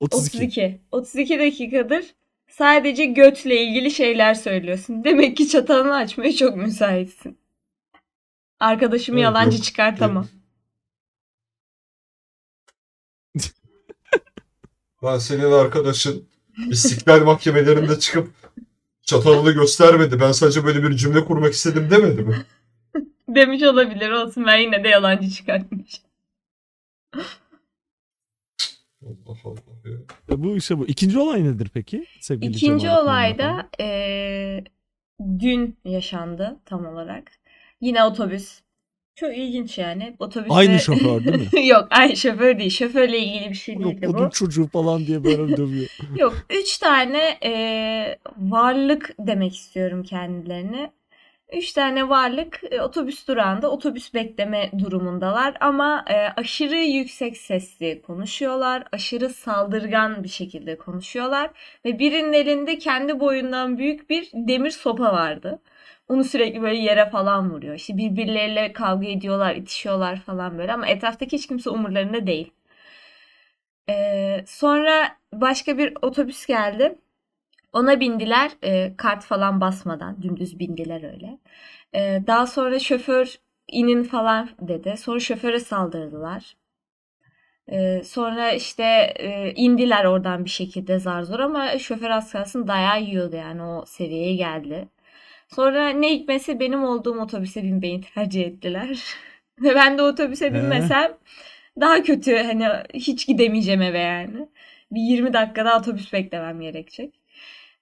32. 32. 32 dakikadır sadece götle ilgili şeyler söylüyorsun. Demek ki çatalını açmaya çok müsaitsin. Arkadaşımı Evet, yalancı yok. çıkartamam. Lan senin arkadaşın istiklal mahkemelerinde çıkıp çatalını göstermedi. Ben sadece böyle bir cümle kurmak istedim demedi mi? Demiş olabilir olsun ben yine de yalancı çıkartmış. Allah Allah ya. E Bu işte bu. İkinci olay nedir peki? Sevgili İkinci Cemal Akman'la falan? olayda eee, dün yaşandı tam olarak. Yine otobüs. Çok ilginç yani. Otobüste... Aynı şoför değil mi? Yok aynı şoför değil. Şoförle ilgili bir şey Yok değildi odun bu. çocuğu falan diye böyle dövüyor. Yok, üç tane e, varlık demek istiyorum kendilerine. Üç tane varlık e, otobüs durağında otobüs bekleme durumundalar ama e, aşırı yüksek sesli konuşuyorlar, aşırı saldırgan bir şekilde konuşuyorlar ve birinin elinde kendi boyundan büyük bir demir sopa vardı. Onu sürekli böyle yere falan vuruyor. İşte birbirleriyle kavga ediyorlar, itişiyorlar falan böyle ama etraftaki hiç kimse umurlarında değil. Ee, sonra başka bir otobüs geldi. Ona bindiler e, kart falan basmadan dümdüz bindiler öyle. Ee, daha sonra şoför inin falan dedi. Sonra şoföre saldırdılar. Ee, sonra işte e, indiler oradan bir şekilde zar zor ama şoför az kalsın dayağı yiyordu yani o seviyeye geldi. Sonra ne hikmetse benim olduğum otobüse binmeyi tercih ettiler. Ve ben de otobüse Ee? binmesem daha kötü hani hiç gidemeyeceğim eve yani. Bir 20 dakika daha otobüs beklemem gerekecek.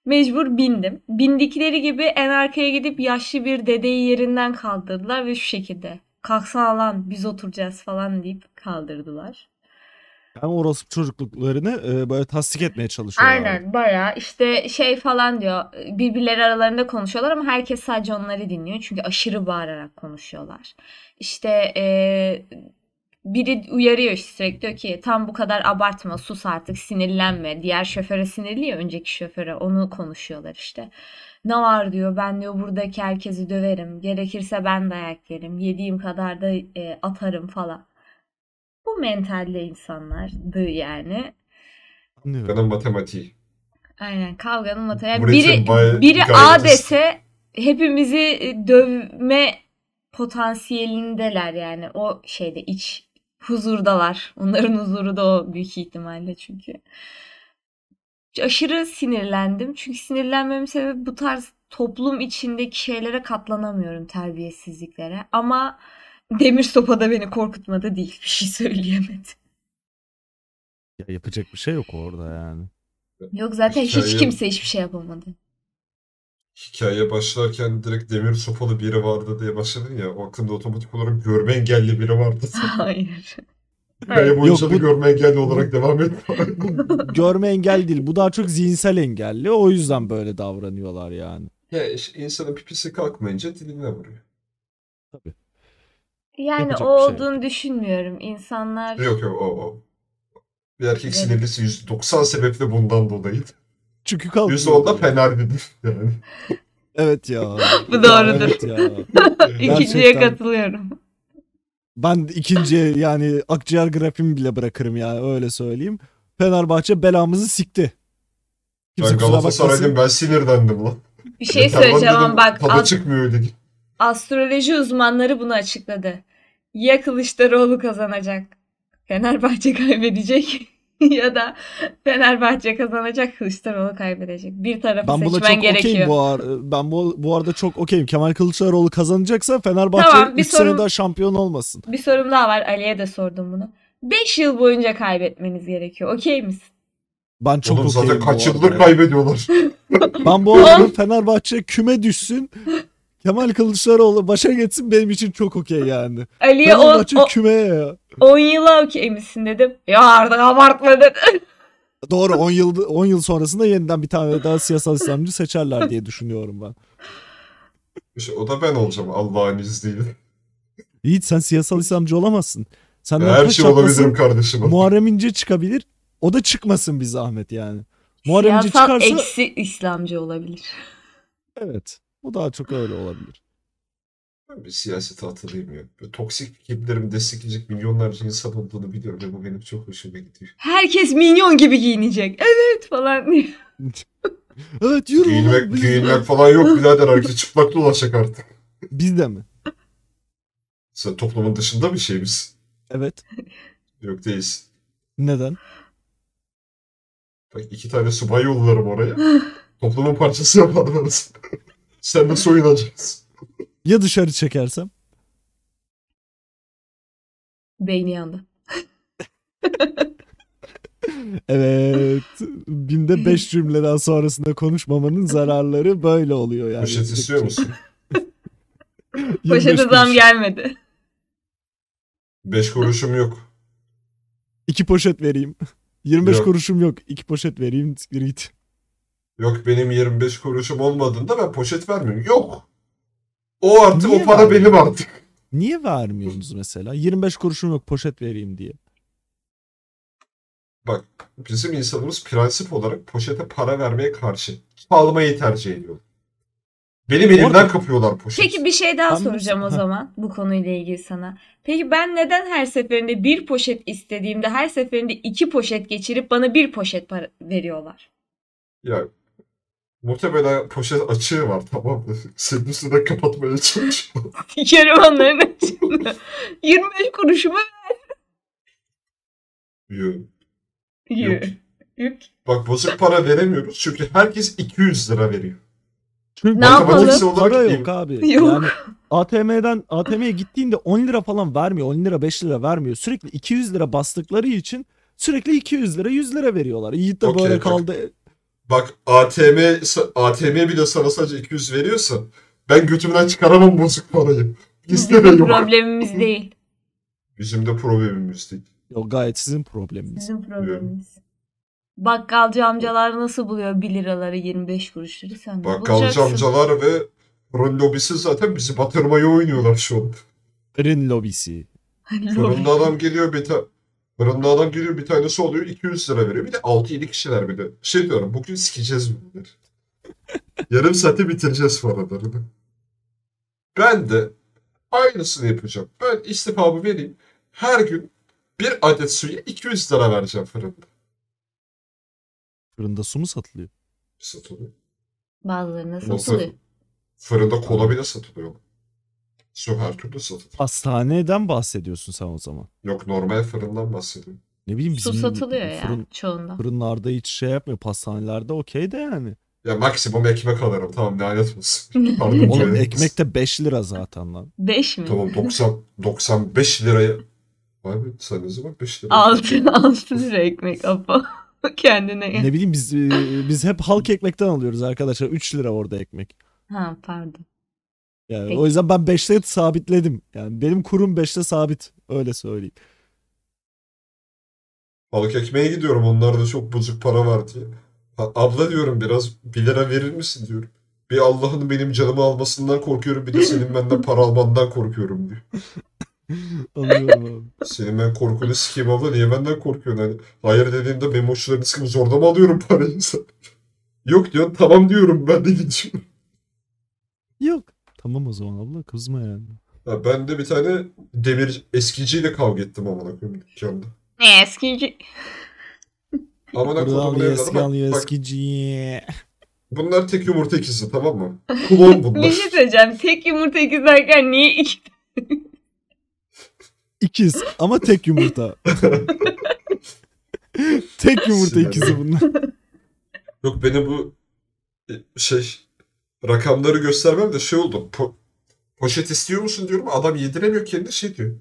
Mecbur bindim. Bindikleri gibi en arkaya gidip yaşlı bir dedeyi yerinden kaldırdılar ve şu şekilde. Kalksana lan biz oturacağız falan deyip kaldırdılar. Hem orospu çocukluklarını e, böyle tasdik etmeye çalışıyorlar. Aynen bayağı işte şey falan diyor birbirleri aralarında konuşuyorlar ama herkes sadece onları dinliyor çünkü aşırı bağırarak konuşuyorlar. İşte eee, biri uyarıyor işte sürekli diyor ki tam bu kadar abartma sus artık sinirlenme diğer şoföre sinirli ya önceki şoföre onu konuşuyorlar işte. Ne var diyor ben diyor buradaki herkesi döverim gerekirse ben dayak yerim yediğim kadar da e, atarım falan. Bu mentalde insanlardı yani. Anlıyorum. Benim matematiği. Aynen kavganın mataya. Burası biri bay- biri A gayet- dese hepimizi e, dövme potansiyelindeler yani. O şeyde iç huzurdalar. Onların huzuru da o büyük ihtimalle çünkü. Aşırı sinirlendim. Çünkü sinirlenmemin sebebi bu tarz toplum içindeki şeylere katlanamıyorum terbiyesizliklere. Ama demir sopa da beni korkutmadı değil. Bir şey söyleyemedim. Ya yapacak bir şey yok orada yani. Yok zaten hiç Hikaye- kimse hiçbir şey yapamadı. Hikaye başlarken direkt demir sopalı biri vardı diye başladın ya. O aklımda otomatik olarak görme engelli biri vardı. Hayır. Hikaye boyunca Yok, da bu- görme engelli olarak devam et. Bu görme engel değil. Bu daha çok zihinsel engelli. O yüzden böyle davranıyorlar yani. ya işte insanın pipisi kalkmayınca diline vuruyor. Yani Yapacak o bir şey yok. olduğunu düşünmüyorum. İnsanlar Yok yok o o. Bir erkek Evet. sinirlisi 190 sebeple bundan dolayı. Çünkü kalkıyor. %10'da fener dedi. Yani. Evet ya. Bu doğrudur. Evet ya. ikinciye Gerçekten. katılıyorum. Ben ikinciye yani akciğer grafimi bile bırakırım yani öyle söyleyeyim. Fenerbahçe belamızı sikti. Kimse Ben kusura bakmasın. Galatasaraylıyım ben sinirlendim lan. Bir şey Yeter lan söyleyeceğim dedim, ama bak Tadı as- çıkmıyor dedi. astroloji uzmanları bunu açıkladı. Ya Kılıçdaroğlu kazanacak. Fenerbahçe kaybedecek ya da Fenerbahçe kazanacak, Kılıçdaroğlu kaybedecek. Bir tarafı Ben buna seçmen çok gerekiyor. okeyim bu ar- ben bu, bu arada çok okeyim. Kemal Kılıçdaroğlu kazanacaksa Fenerbahçe Tamam, bir 3 sene sorum- daha şampiyon olmasın. Bir sorum daha var. Ali'ye de sordum bunu. 5 yıl boyunca kaybetmeniz gerekiyor. Okey misin? Ben çok Oğlum okeyim zaten bu kaç arada yıldır ya. kaybediyorlar. Ben bu arada Fenerbahçe küme düşsün. Kemal Kılıçdaroğlu başa geçsin benim için çok okey yani. Ali'ye 10 Fenerbahçe kümeye ya. yıla okey misin dedim. Ya artık abartma dedi. Doğru 10 yıl 10 yıl sonrasında yeniden bir tane daha siyasal İslamcı seçerler diye düşünüyorum ben. İşte o da ben olacağım Allah'ın izniyle. Yiğit sen siyasal İslamcı olamazsın. Senden Her taş şey atmasın, olabilirim kardeşim. Muharrem İnce çıkabilir. O da çıkmasın bir zahmet yani. Muharrem İnce Siyasal çıkarsa eksi İslamcı olabilir. evet. O daha çok öyle olabilir. Ben bir siyasete atılayım ya. Böyle toksik fikirlerimi destekleyecek milyonlarca insan olduğunu biliyorum ve bu benim çok hoşuma gidiyor. Herkes minyon gibi giyinecek. Evet falan diye. Evet yürü oğlum, Giyinmek, biz- giyinmek falan yok birader herkes çıplak dolaşacak artık. Biz de mi? Sen toplumun dışında bir şey biz. Evet. Yok değiliz. Neden? Bak iki tane subay yollarım oraya. Toplumun parçası yaparlarız. Sen de soyunacaksın. Ya dışarı çekersem? Beyni yandı. Evet. Binde 5 cümle daha sonrasında konuşmamanın zararları böyle oluyor yani. Poşet istiyor musun? 25 Poşete zam kuruş. gelmedi. Beş kuruşum yok. İki poşet vereyim. 25 Yok. kuruşum yok. İki poşet vereyim. Siktir git. Yok benim 25 kuruşum olmadığında ben poşet vermiyorum. Yok. O artık Niye o para vermiyor? benim artık. Niye vermiyorsunuz mesela? 25 kuruşum yok poşet vereyim diye. Bak bizim insanımız prensip olarak poşete para vermeye karşı çalmayı tercih ediyor. Benim elimden Orada- kapıyorlar poşeti. Peki bir şey daha Ben soracağım o mesela- zaman bu konuyla ilgili sana. Peki ben neden her seferinde bir poşet istediğimde her seferinde iki poşet geçirip bana bir poşet para veriyorlar? Ya muhtemelen poşet açığı var tamam mı? Senin üstüne kapatmaya çalışıyor. Sikerim onların açığını. 25 kuruşumu Yok. veriyor. Yok. Bak bozuk para veremiyoruz çünkü herkes 200 lira veriyor. Çünkü Ne yapalım? matematiksel olarak Para değil. yok abi. Yok. Yani ATM'den ATM'ye gittiğinde 10 lira falan vermiyor. 10 lira 5 lira vermiyor. Sürekli 200 lira bastıkları için sürekli 200 lira 100 lira veriyorlar. Yiğit de Okey, böyle bak. kaldı. Bak ATM sa- ATM bile sana sadece 200 veriyorsa ben götümden çıkaramam bozuk parayı. Bizde de Bizim yok. problemimiz değil. Bizim de problemimiz değil. Yok gayet sizin probleminiz. Bizim problemimiz. Bakkalcı amcalar nasıl buluyor 1 liraları 25 kuruşları sen de Bakkalcı bulacaksın. amcalar ve fırın lobisi zaten bizi batırmaya oynuyorlar şu an. Fırın lobisi. Fırında adam geliyor bir tane Fırında adam geliyor bir tanesi oluyor 200 lira veriyor. Bir de 6-7 kişiler bir de. Şey diyorum bugün sikeceğiz bunları. Yarım saate bitireceğiz paralarını. Ben de aynısını yapacağım. Ben istifamı vereyim. Her gün bir adet suya 200 lira vereceğim fırında. Fırında su mu satılıyor? Satılıyor. Bazıları nasıl Nasıl? buluyor? Fırında kola bile satılıyor. Su her türlü satılıyor. Pastaneden bahsediyorsun sen o zaman. Yok normal fırından bahsediyorum. Ne bileyim Su bizim satılıyor ya fırın, çoğunda. fırınlarda hiç şey yapmıyor. Pastanelerde okey de yani. Ya maksimum ekmek alırım tamam lanet olsun. Oğlum Evet. ekmek de 5 lira zaten lan. 5 mi? Tamam 90 95 liraya Vay be sayınıza bak 5 lira. 6, 6 lira ekmek apa. Kendine gel. Ne bileyim biz e, biz hep halk ekmekten alıyoruz arkadaşlar. 3 lira orada ekmek. Ha pardon. Yani Peki. o yüzden ben 5'te sabitledim. Yani benim kurum 5'te sabit. Öyle söyleyeyim. Balık ekmeğe gidiyorum onlarda çok bozuk para var diye. Ha, abla diyorum biraz 1 lira verir misin diyorum. Bir Allah'ın benim canımı almasından korkuyorum bir de senin benden para almandan korkuyorum diyor. Anlıyorum abi. Senin ben korkunu sikeyim abla niye benden korkuyorsun? Hani, hayır dediğimde benim hoşlarını sıkıp zorla mı alıyorum parayı sen? Yok diyor tamam diyorum ben de gidiyorum. Yok. Tamam o zaman abla kızma yani. Ha, ben de bir tane demir eskiciyle kavga ettim amına koyayım dükkanda. Ne eskici? Amına kodumun Buralı evladı bak, eskici bak eskici. bunlar tek yumurta ikisi tamam mı? Klon Bir şey bunlar. söyleyeceğim. Tek yumurta ikizlerken niye iki? İkiz ama tek yumurta. Tek yumurta ikizi bunlar. Yok beni bu e, şey rakamları göstermem de şey oldu. Po- poşet istiyor musun diyorum. Adam yediremiyor kendini şey diyor.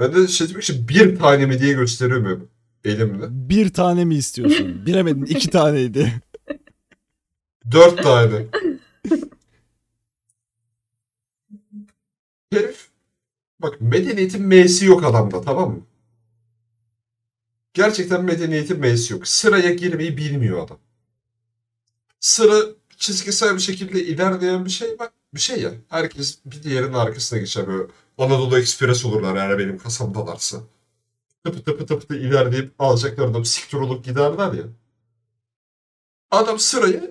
Ben de şey demek için bir tane mi diye gösteriyorum böyle elimle. Bir tane mi istiyorsun? Bilemedin iki taneydi. Dört tane. Herif bak medeniyetin M'si yok adamda tamam mı? Gerçekten medeniyetin M'si yok. Sıraya girmeyi bilmiyor adam. Sıra çizgisel bir şekilde ilerleyen bir şey bak bir şey ya. Herkes bir diğerinin arkasına geçer böyle. Anadolu Ekspres olurlar eğer benim kasamdalarsa. Tıpı tıpı tıpı tıpı ilerleyip alacaklar da siktir olup giderler ya. Adam sıraya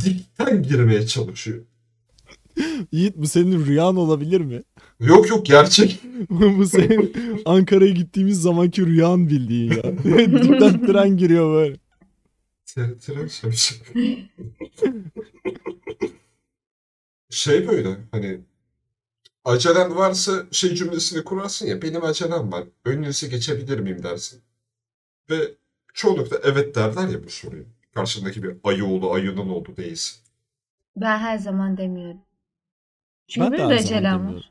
dikten girmeye çalışıyor. Yiğit bu senin rüyan olabilir mi? Yok yok gerçek. bu senin Ankara'ya gittiğimiz zamanki rüyan bildiğin ya. Dipten tren giriyor böyle. Tren- tren şapşal. şey böyle hani acelen varsa şey cümlesini kurarsın ya benim acelem var. Önünüze geçebilir miyim dersin. Ve çoğunlukla evet derler ya bu soruyu. Karşındaki bir ayı oğlu ayının oğlu değilsin. Ben her zaman demiyorum. Çünkü Ben de benim de her zaman acelem var. demiyorum.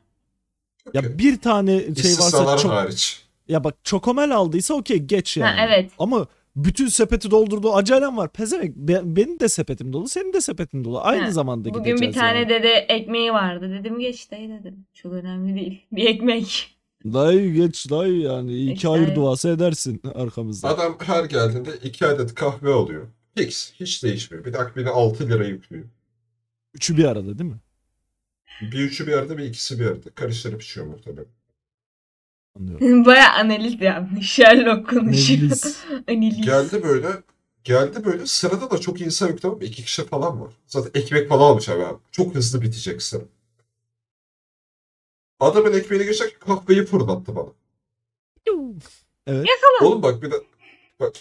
Ya bir tane şey varsa İstisnalar çok... hariç. Ya bak çokomel aldıysa okey geç yani. Ha, evet. Ama bütün sepeti doldurduğu acelem var. Pezevenk be- benim de sepetim dolu senin de sepetin dolu. Aynı Ha, zamanda Bugün gideceğiz bir tane yani. dede ekmeği vardı. Dedim geç dayı dedim. Çok önemli değil. Bir ekmek. Dayı geç dayı yani. iki İşte- hayır duası edersin arkamızda. Adam her geldiğinde iki adet kahve alıyor. Fix. Hiç değişmiyor. Bir de akbine 6 lira yüklüyor. Üçü bir arada değil mi? Bir üçü bir yerde bir ikisi bir yerde. Karıştırıp içiyor muhtemelen. Anlıyorum. Baya analiz yapmış. Sherlock konuşuyor. Meclis. Analiz. Geldi böyle geldi böyle sırada da çok insan yok tamam mı? İki kişi falan var. Zaten ekmek falan almış abi. abi. Çok hızlı bitecek sıra. Adamın ekmeğini geçerken kahveyi fırlattı bana. Evet. Oğlum bak bir de bak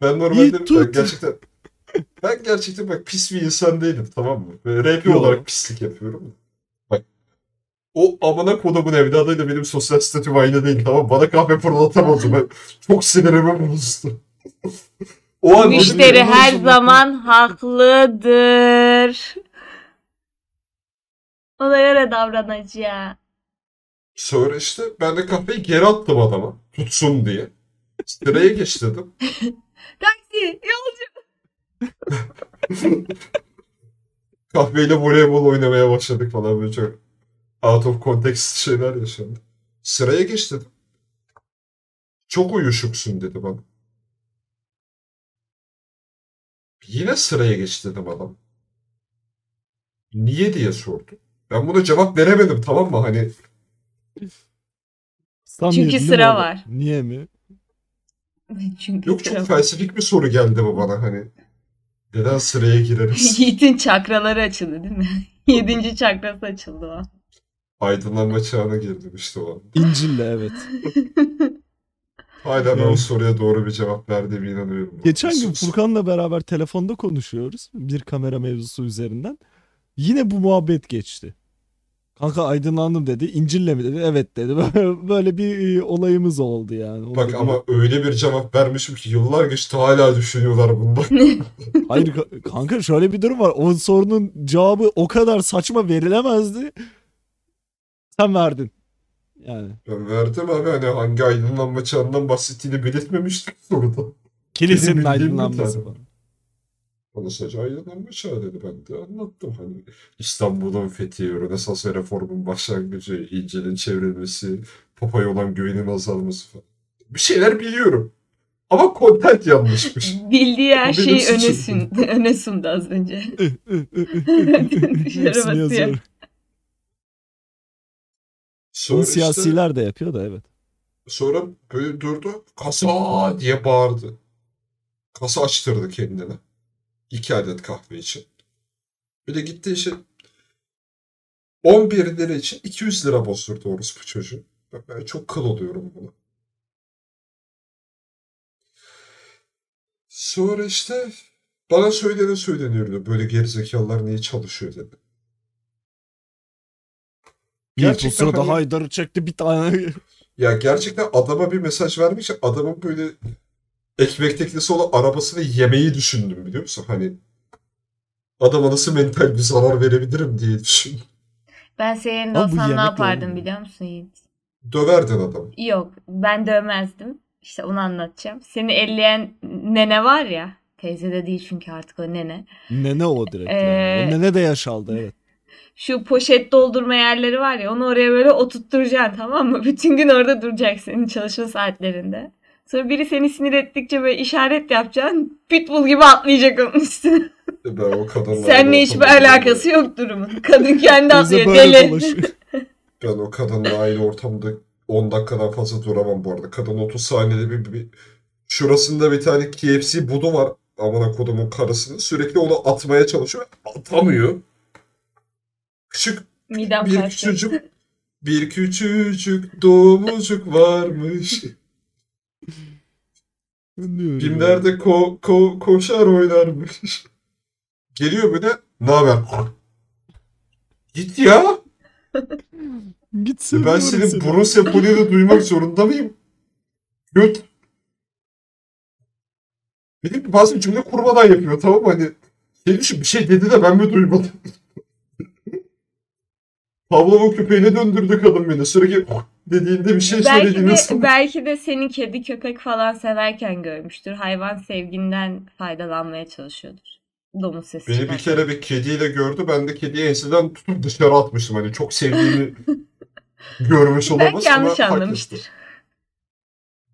ben İyi normalde ben tut. gerçekten ben gerçekten bak pis bir insan değilim tamam mı? Böyle RP Yo. olarak pislik yapıyorum. Bak o amına kodumun evladıyla benim sosyal statüm aynı değil tamam mı? Bana kahve fırlatamazdı. Ben çok sinirimi bozdu. o an Müşteri dedim, her "Ulan zaman haklıdır. Ona göre davranacağım. Sonra işte ben de kahveyi geri attım adama. Tutsun diye. Sıraya geç dedim. Taksi yolcu. Kahveyle voleybol oynamaya başladık falan böyle çok out of context şeyler yaşandı. Sıraya geç dedim. Çok uyuşuksun dedi bana. Yine sıraya geç dedim adam. Niye diye sordu. Ben buna cevap veremedim tamam mı? Hani Samimiyetli Çünkü mi sıra oldu? var. Niye mi? Çünkü yok çok felsefik bir soru geldi bu bana hani. Neden sıraya gireriz? Yiğit'in çakraları açıldı değil mi? Yedinci çakrası açıldı o. Aydınlanma çağına girdim işte o an. İncil'le evet. Hala ben o Evet. soruya doğru bir cevap verdiğime inanıyorum. Geçen gün Sus. Furkan'la beraber telefonda konuşuyoruz. Bir kamera mevzusu üzerinden. Yine bu muhabbet geçti. Kanka aydınlandım dedi. İncil'le mi dedi? Evet dedi. Böyle bir e, olayımız oldu yani. Onu Bak da- ama öyle bir cevap vermişim ki yıllar geçti hala düşünüyorlar bundan. Hayır ka- kanka şöyle bir durum var. O sorunun cevabı o kadar saçma verilemezdi. Sen verdin. Yani. Ben verdim abi hani hangi aydınlanma çağından bahsettiğini belirtmemiştik soruda. Kilisenin bildiğim bir aydınlanması tane. falan. Bana sadece aydınlanma çağı dedi ben de anlattım hani İstanbul'un fethi, Rönesans ve reformun başlangıcı, İncil'in çevrilmesi, Papa'ya olan güvenin azalması falan. Bir şeyler biliyorum. Ama content yanlışmış. Bildiği her O benim şeyi öne, suçum. sun, öne sundu az önce. Hepsini basıyor. yazıyorum. Sonra Bunu işte- siyasiler de yapıyor da evet. Sonra böyle durdu. Kasa diye bağırdı. Kasa açtırdı kendine. İki adet kahve için. Bir de gitti işte 11 lira için 200 lira bozdurdu orospu çocuğu. Bak ben çok kıl oluyorum buna. Sonra işte bana söylene söyleniyordu. Böyle gerizekalılar niye çalışıyor dedi. Yiğit o Gerçekten sırada hani- Haydar'ı çekti bir tane Ya gerçekten adama bir mesaj vermek için adamın böyle ekmek teknesi olan arabasını yemeyi düşündüm biliyor musun? Hani adama nasıl mental bir zarar verebilirim diye düşündüm. Ben senin yerinde Ama bu olsam ne yemekle yapardım olmuyor. biliyor musun Yiğit? Döverdin adamı. Yok ben dövmezdim. İşte onu anlatacağım. Seni elleyen nene var ya. Teyze de değil çünkü artık o nene. Nene o direkt. yani. Ee, O nene de yaş aldı evet. Şu poşet doldurma yerleri var ya onu oraya böyle oturtturacaksın tamam mı? Bütün gün orada duracak senin çalışma saatlerinde. Sonra biri seni sinir ettikçe böyle işaret yapacaksın. Pitbull gibi atlayacak onun üstüne. Ben o kadarla Seninle hiçbir alakası yok durumun. Kadın kendi Teyze atlıyor böyle deli. dolaşıyor. Ben o kadınla aynı ortamda 10 dakikadan fazla duramam bu arada. Kadın 30 saniyede bir, bir- şurasında bir tane KFC budu var. Amına kodumun karısını. Sürekli onu atmaya çalışıyor. Atamıyor. Küçük Midem bir kalktı. küçücük bir küçücük domuzcuk varmış. Diyorum ya. Filmlerde ko, ko, koşar oynarmış. Geliyor böyle. Ne haber? Git ya. Git E Ben seviyorum senin seni. burun seponiyi de duymak zorunda mıyım? Göt. Benim gibi bazen cümle kurmadan yapıyor tamam mı? Hani şey düşün, bir şey dedi de ben mi duymadım? Pavlova köpeğine döndürdü kadın beni. Sürekli dediğinde bir şey belki söylediğinde de, belki de senin kedi köpek falan severken görmüştür. Hayvan sevginden faydalanmaya çalışıyordur. Domuz sesi Beni bir çıkartarak. kere bir kediyle gördü. Ben de kediyi enseden tutup dışarı atmıştım. Hani çok sevdiğimi görmüş olamaz Belki ama yanlış hak etti. anlamıştır.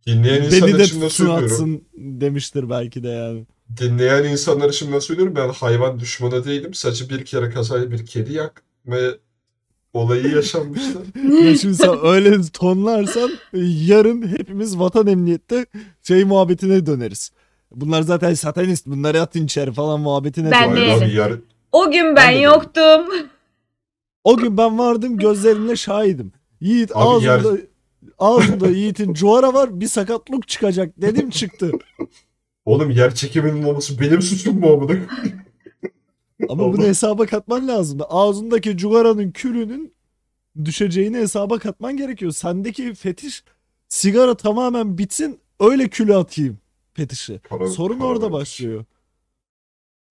Dinleyen insan Beni de için de tutsun söylüyorum. atsın demiştir belki de yani. Dinleyen insanlar için ben söylüyorum ben hayvan düşmanı değilim. Sadece bir kere kazayla bir kedi yakma olayı yaşanmıştı. Ya şimdi sen öyle tonlarsan e, yarın hepimiz vatan emniyette şey muhabbetine döneriz. Bunlar zaten satanist bunları atın içeri falan muhabbetine Ben Hayır döneriz. değilim. abi yar- O gün ben, Ben de değilim. yoktum. O gün ben vardım gözlerimle şahidim. Yiğit Abi yer- ağzında, ağzında Yiğit'in cuara var bir sakatlık çıkacak dedim çıktı. oğlum yer çekiminin olması benim suçum mu amına? Ama bunu Oldu. hesaba katman lazım. Ağzındaki cugaranın külünün düşeceğini hesaba katman gerekiyor. Sendeki fetiş sigara tamamen bitsin öyle külü atayım fetişi. Para- Sorun para orada vermiş. başlıyor.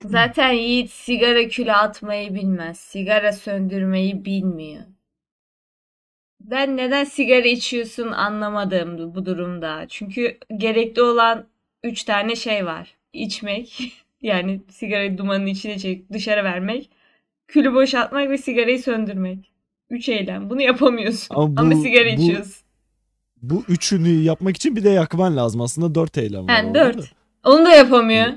Zaten Yiğit sigara külü atmayı bilmez. Sigara söndürmeyi bilmiyor. Ben neden sigara içiyorsun anlamadım bu durumda. Çünkü gerekli olan üç tane şey var. İçmek, yani sigarayı dumanın içine çekip dışarı vermek, külü boşaltmak ve sigarayı söndürmek. Üç eylem. Bunu yapamıyorsun. Ama Ama, bu- sigara bu- içiyorsun. Bu üçünü yapmak için bir de yakman lazım. Aslında dört eylem var. Yani orada dört. da. Onu da yapamıyor.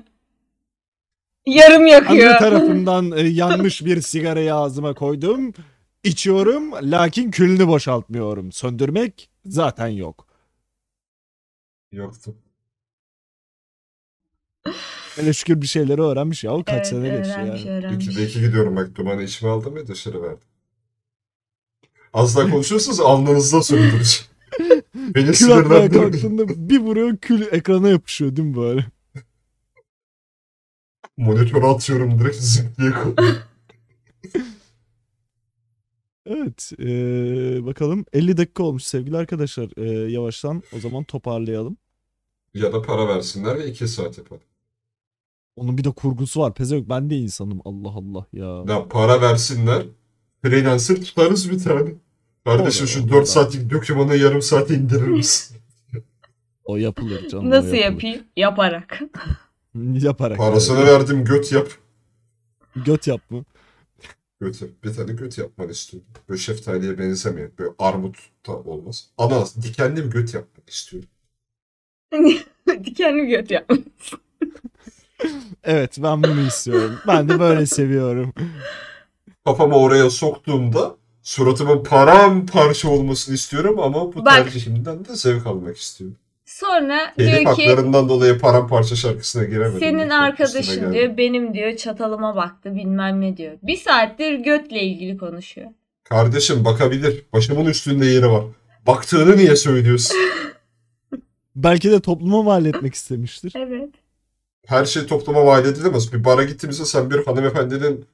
Yarım yakıyor. Anne tarafından e, yanmış bir sigarayı ağzıma koydum. İçiyorum lakin külünü boşaltmıyorum. Söndürmek zaten yok. Yoktu. Hele şükür bir şeyleri öğrenmiş ya. O kaç Evet, sene geçti yani. öğrenmiş, öğrenmiş. İki, belki gidiyorum bak dumanı içime aldım ya dışarı verdim. Az daha konuşuyorsanız alnınızda söndüreceğim. Beni Kül atmaya sinirlendirmeyin. kalktığında bir vuruyor kül ekrana yapışıyor değil mi böyle? Monitöre atıyorum direkt zıp diye kopuyor. Evet e, bakalım 50 dakika olmuş sevgili arkadaşlar. E, yavaştan o zaman toparlayalım. Ya da para versinler ve iki saat yapalım. Onun bir de kurgusu var. Pezevenk ben de insanım Allah Allah ya. Ya para versinler. Freelancer tutarız bir tane. Kardeşim Olur, şu olur. 4 saatlik dokümanı yarım saate indirir misin? O yapılır canım. o Nasıl yapılır. yapayım? Yaparak. Yaparak. Parasını evet. verdim göt yap. Göt yap mı? Göt yap. Bir tane göt yapmanı istiyorum. Böyle şeftaliye benzemeyen. Böyle armut da olmaz. Ananas dikenli bir göt yapmak istiyorum. Dikenli göt yapmış. Evet ben bunu istiyorum. Ben de böyle seviyorum. Kafamı oraya soktuğumda suratımın paramparça olmasını istiyorum ama bu Bak. tercihimden de zevk almak istiyorum. Sonra Telif diyor ki haklarından dolayı paramparça şarkısına giremedim. şey, senin Üstüne arkadaşın e, geldi. diyor benim diyor çatalıma baktı bilmem ne diyor. Bir saattir götle ilgili konuşuyor. Kardeşim bakabilir. Başımın üstünde yeri var. Baktığını niye söylüyorsun? Belki de topluma mal etmek istemiştir. Evet. Her şey topluma mal edilemez. Bir bara gittiğimizde sen bir hanımefendinin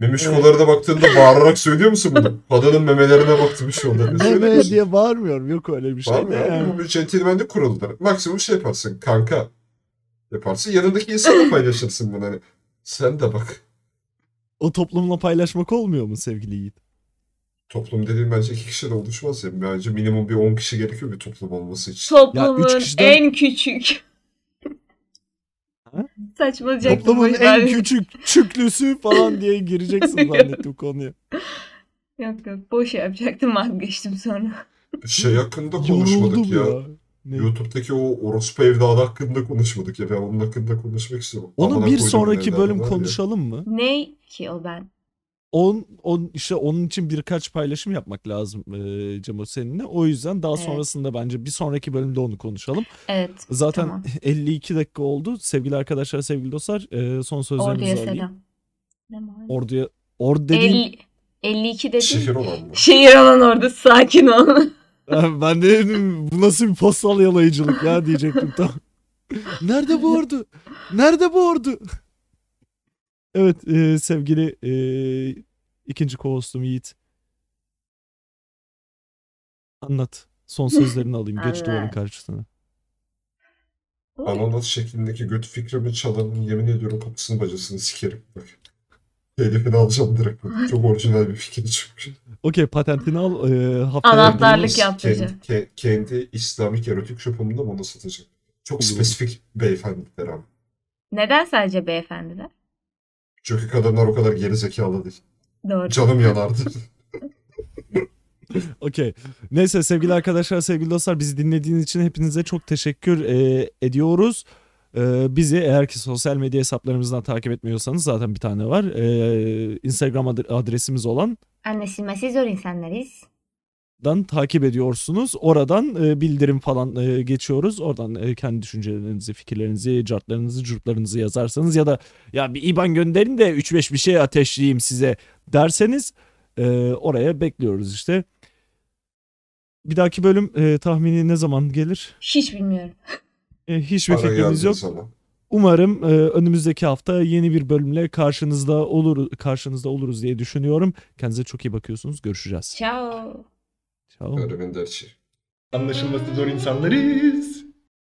Memişkolara da baktığında bağırarak söylüyor musun bunu? Kadının memelerine baktım şey şu anda. Ne Meme söylüyorsun? diye bağırmıyorum. Yok öyle bir şey. Var mı Yani. ya? Bu bir centilmenlik kuruludur. Maksimum şey yaparsın kanka yaparsın. Yanındaki insanla paylaşırsın bunu. Hani. Sen de bak. O toplumla paylaşmak olmuyor mu sevgili Yiğit? Toplum dediğim bence iki kişi de oluşmaz ya. Bence minimum bir 10 kişi gerekiyor bir toplum olması için. Toplumun kişiden- en küçük. Ha? Saçmalayacak. Toplumun en küçük çüklüsü falan diye gireceksin zannettim konuya. Yok yok boş yapacaktım vazgeçtim sonra. Şey hakkında konuşmadık ya. Ne? YouTube'daki o orospu evladı hakkında konuşmadık ya. Ben onun hakkında konuşmak istiyorum. Onu Amına bir koyduğum sonraki evladı bölüm var ya. konuşalım mı? Ne ki o ben? On, on, işte onun için birkaç paylaşım yapmak lazım e, Cemo seninle. O yüzden daha Evet. sonrasında bence bir sonraki bölümde onu konuşalım. Evet. Zaten Tamam. 52 dakika oldu. Sevgili arkadaşlar, sevgili dostlar e, son sözlerinizi Orduya alayım. selam. Ne mal? Orduya, ordu dediğim... El, 52 dedin. Şehir Şehir, olan mı? olan ordu sakin ol. Ha, ben de dedim, bu nasıl bir postal yalayıcılık ya diyecektim tam. Nerede bu ordu? Nerede bu ordu? Evet e, sevgili e, ikinci co-hostum Yiğit. Anlat. Son sözlerini alayım. Geç duvarın Anlat. karşısına. Ananas şeklindeki göt fikrimi çalanın yemin ediyorum kapısını bacasını sikerim. Bak. Telifini alacağım direkt. Bak. Çok orijinal bir fikir çünkü. Okey patentini al. E, haftaya Anahtarlık yapıyoruz. yaptırıcı. Kendi, ke- kendi İslamik erotik şopumda bunu satacak. Çok Olur. spesifik beyefendiler abi. Neden sadece beyefendiler? Çünkü kadınlar o kadar geri zekalı değil. Doğru. Canım yanardı. Okey. Neyse sevgili arkadaşlar, sevgili dostlar bizi dinlediğiniz için hepinize çok teşekkür e, ediyoruz. E, bizi eğer ki sosyal medya hesaplarımızdan takip etmiyorsanız zaten bir tane var. E, Instagram ad- adresimiz olandan Anlaşılması zor insanlarız. takip ediyorsunuz. Oradan e, bildirim falan e, geçiyoruz. Oradan e, kendi düşüncelerinizi, fikirlerinizi, cartlarınızı, curtlarınızı yazarsanız ya da ya bir IBAN gönderin de 3-5 bir şey ateşleyeyim size derseniz e, oraya bekliyoruz işte. Bir dahaki bölüm e, tahmini ne zaman gelir? Hiç bilmiyorum. E, hiçbir Para fikrimiz geldiği yok. zaman. Umarım e, önümüzdeki hafta yeni bir bölümle karşınızda olur karşınızda oluruz diye düşünüyorum. Kendinize çok iyi bakıyorsunuz. Görüşeceğiz. Ciao. Ciao. Öğrenin dersi. Anlaşılması zor insanlarız.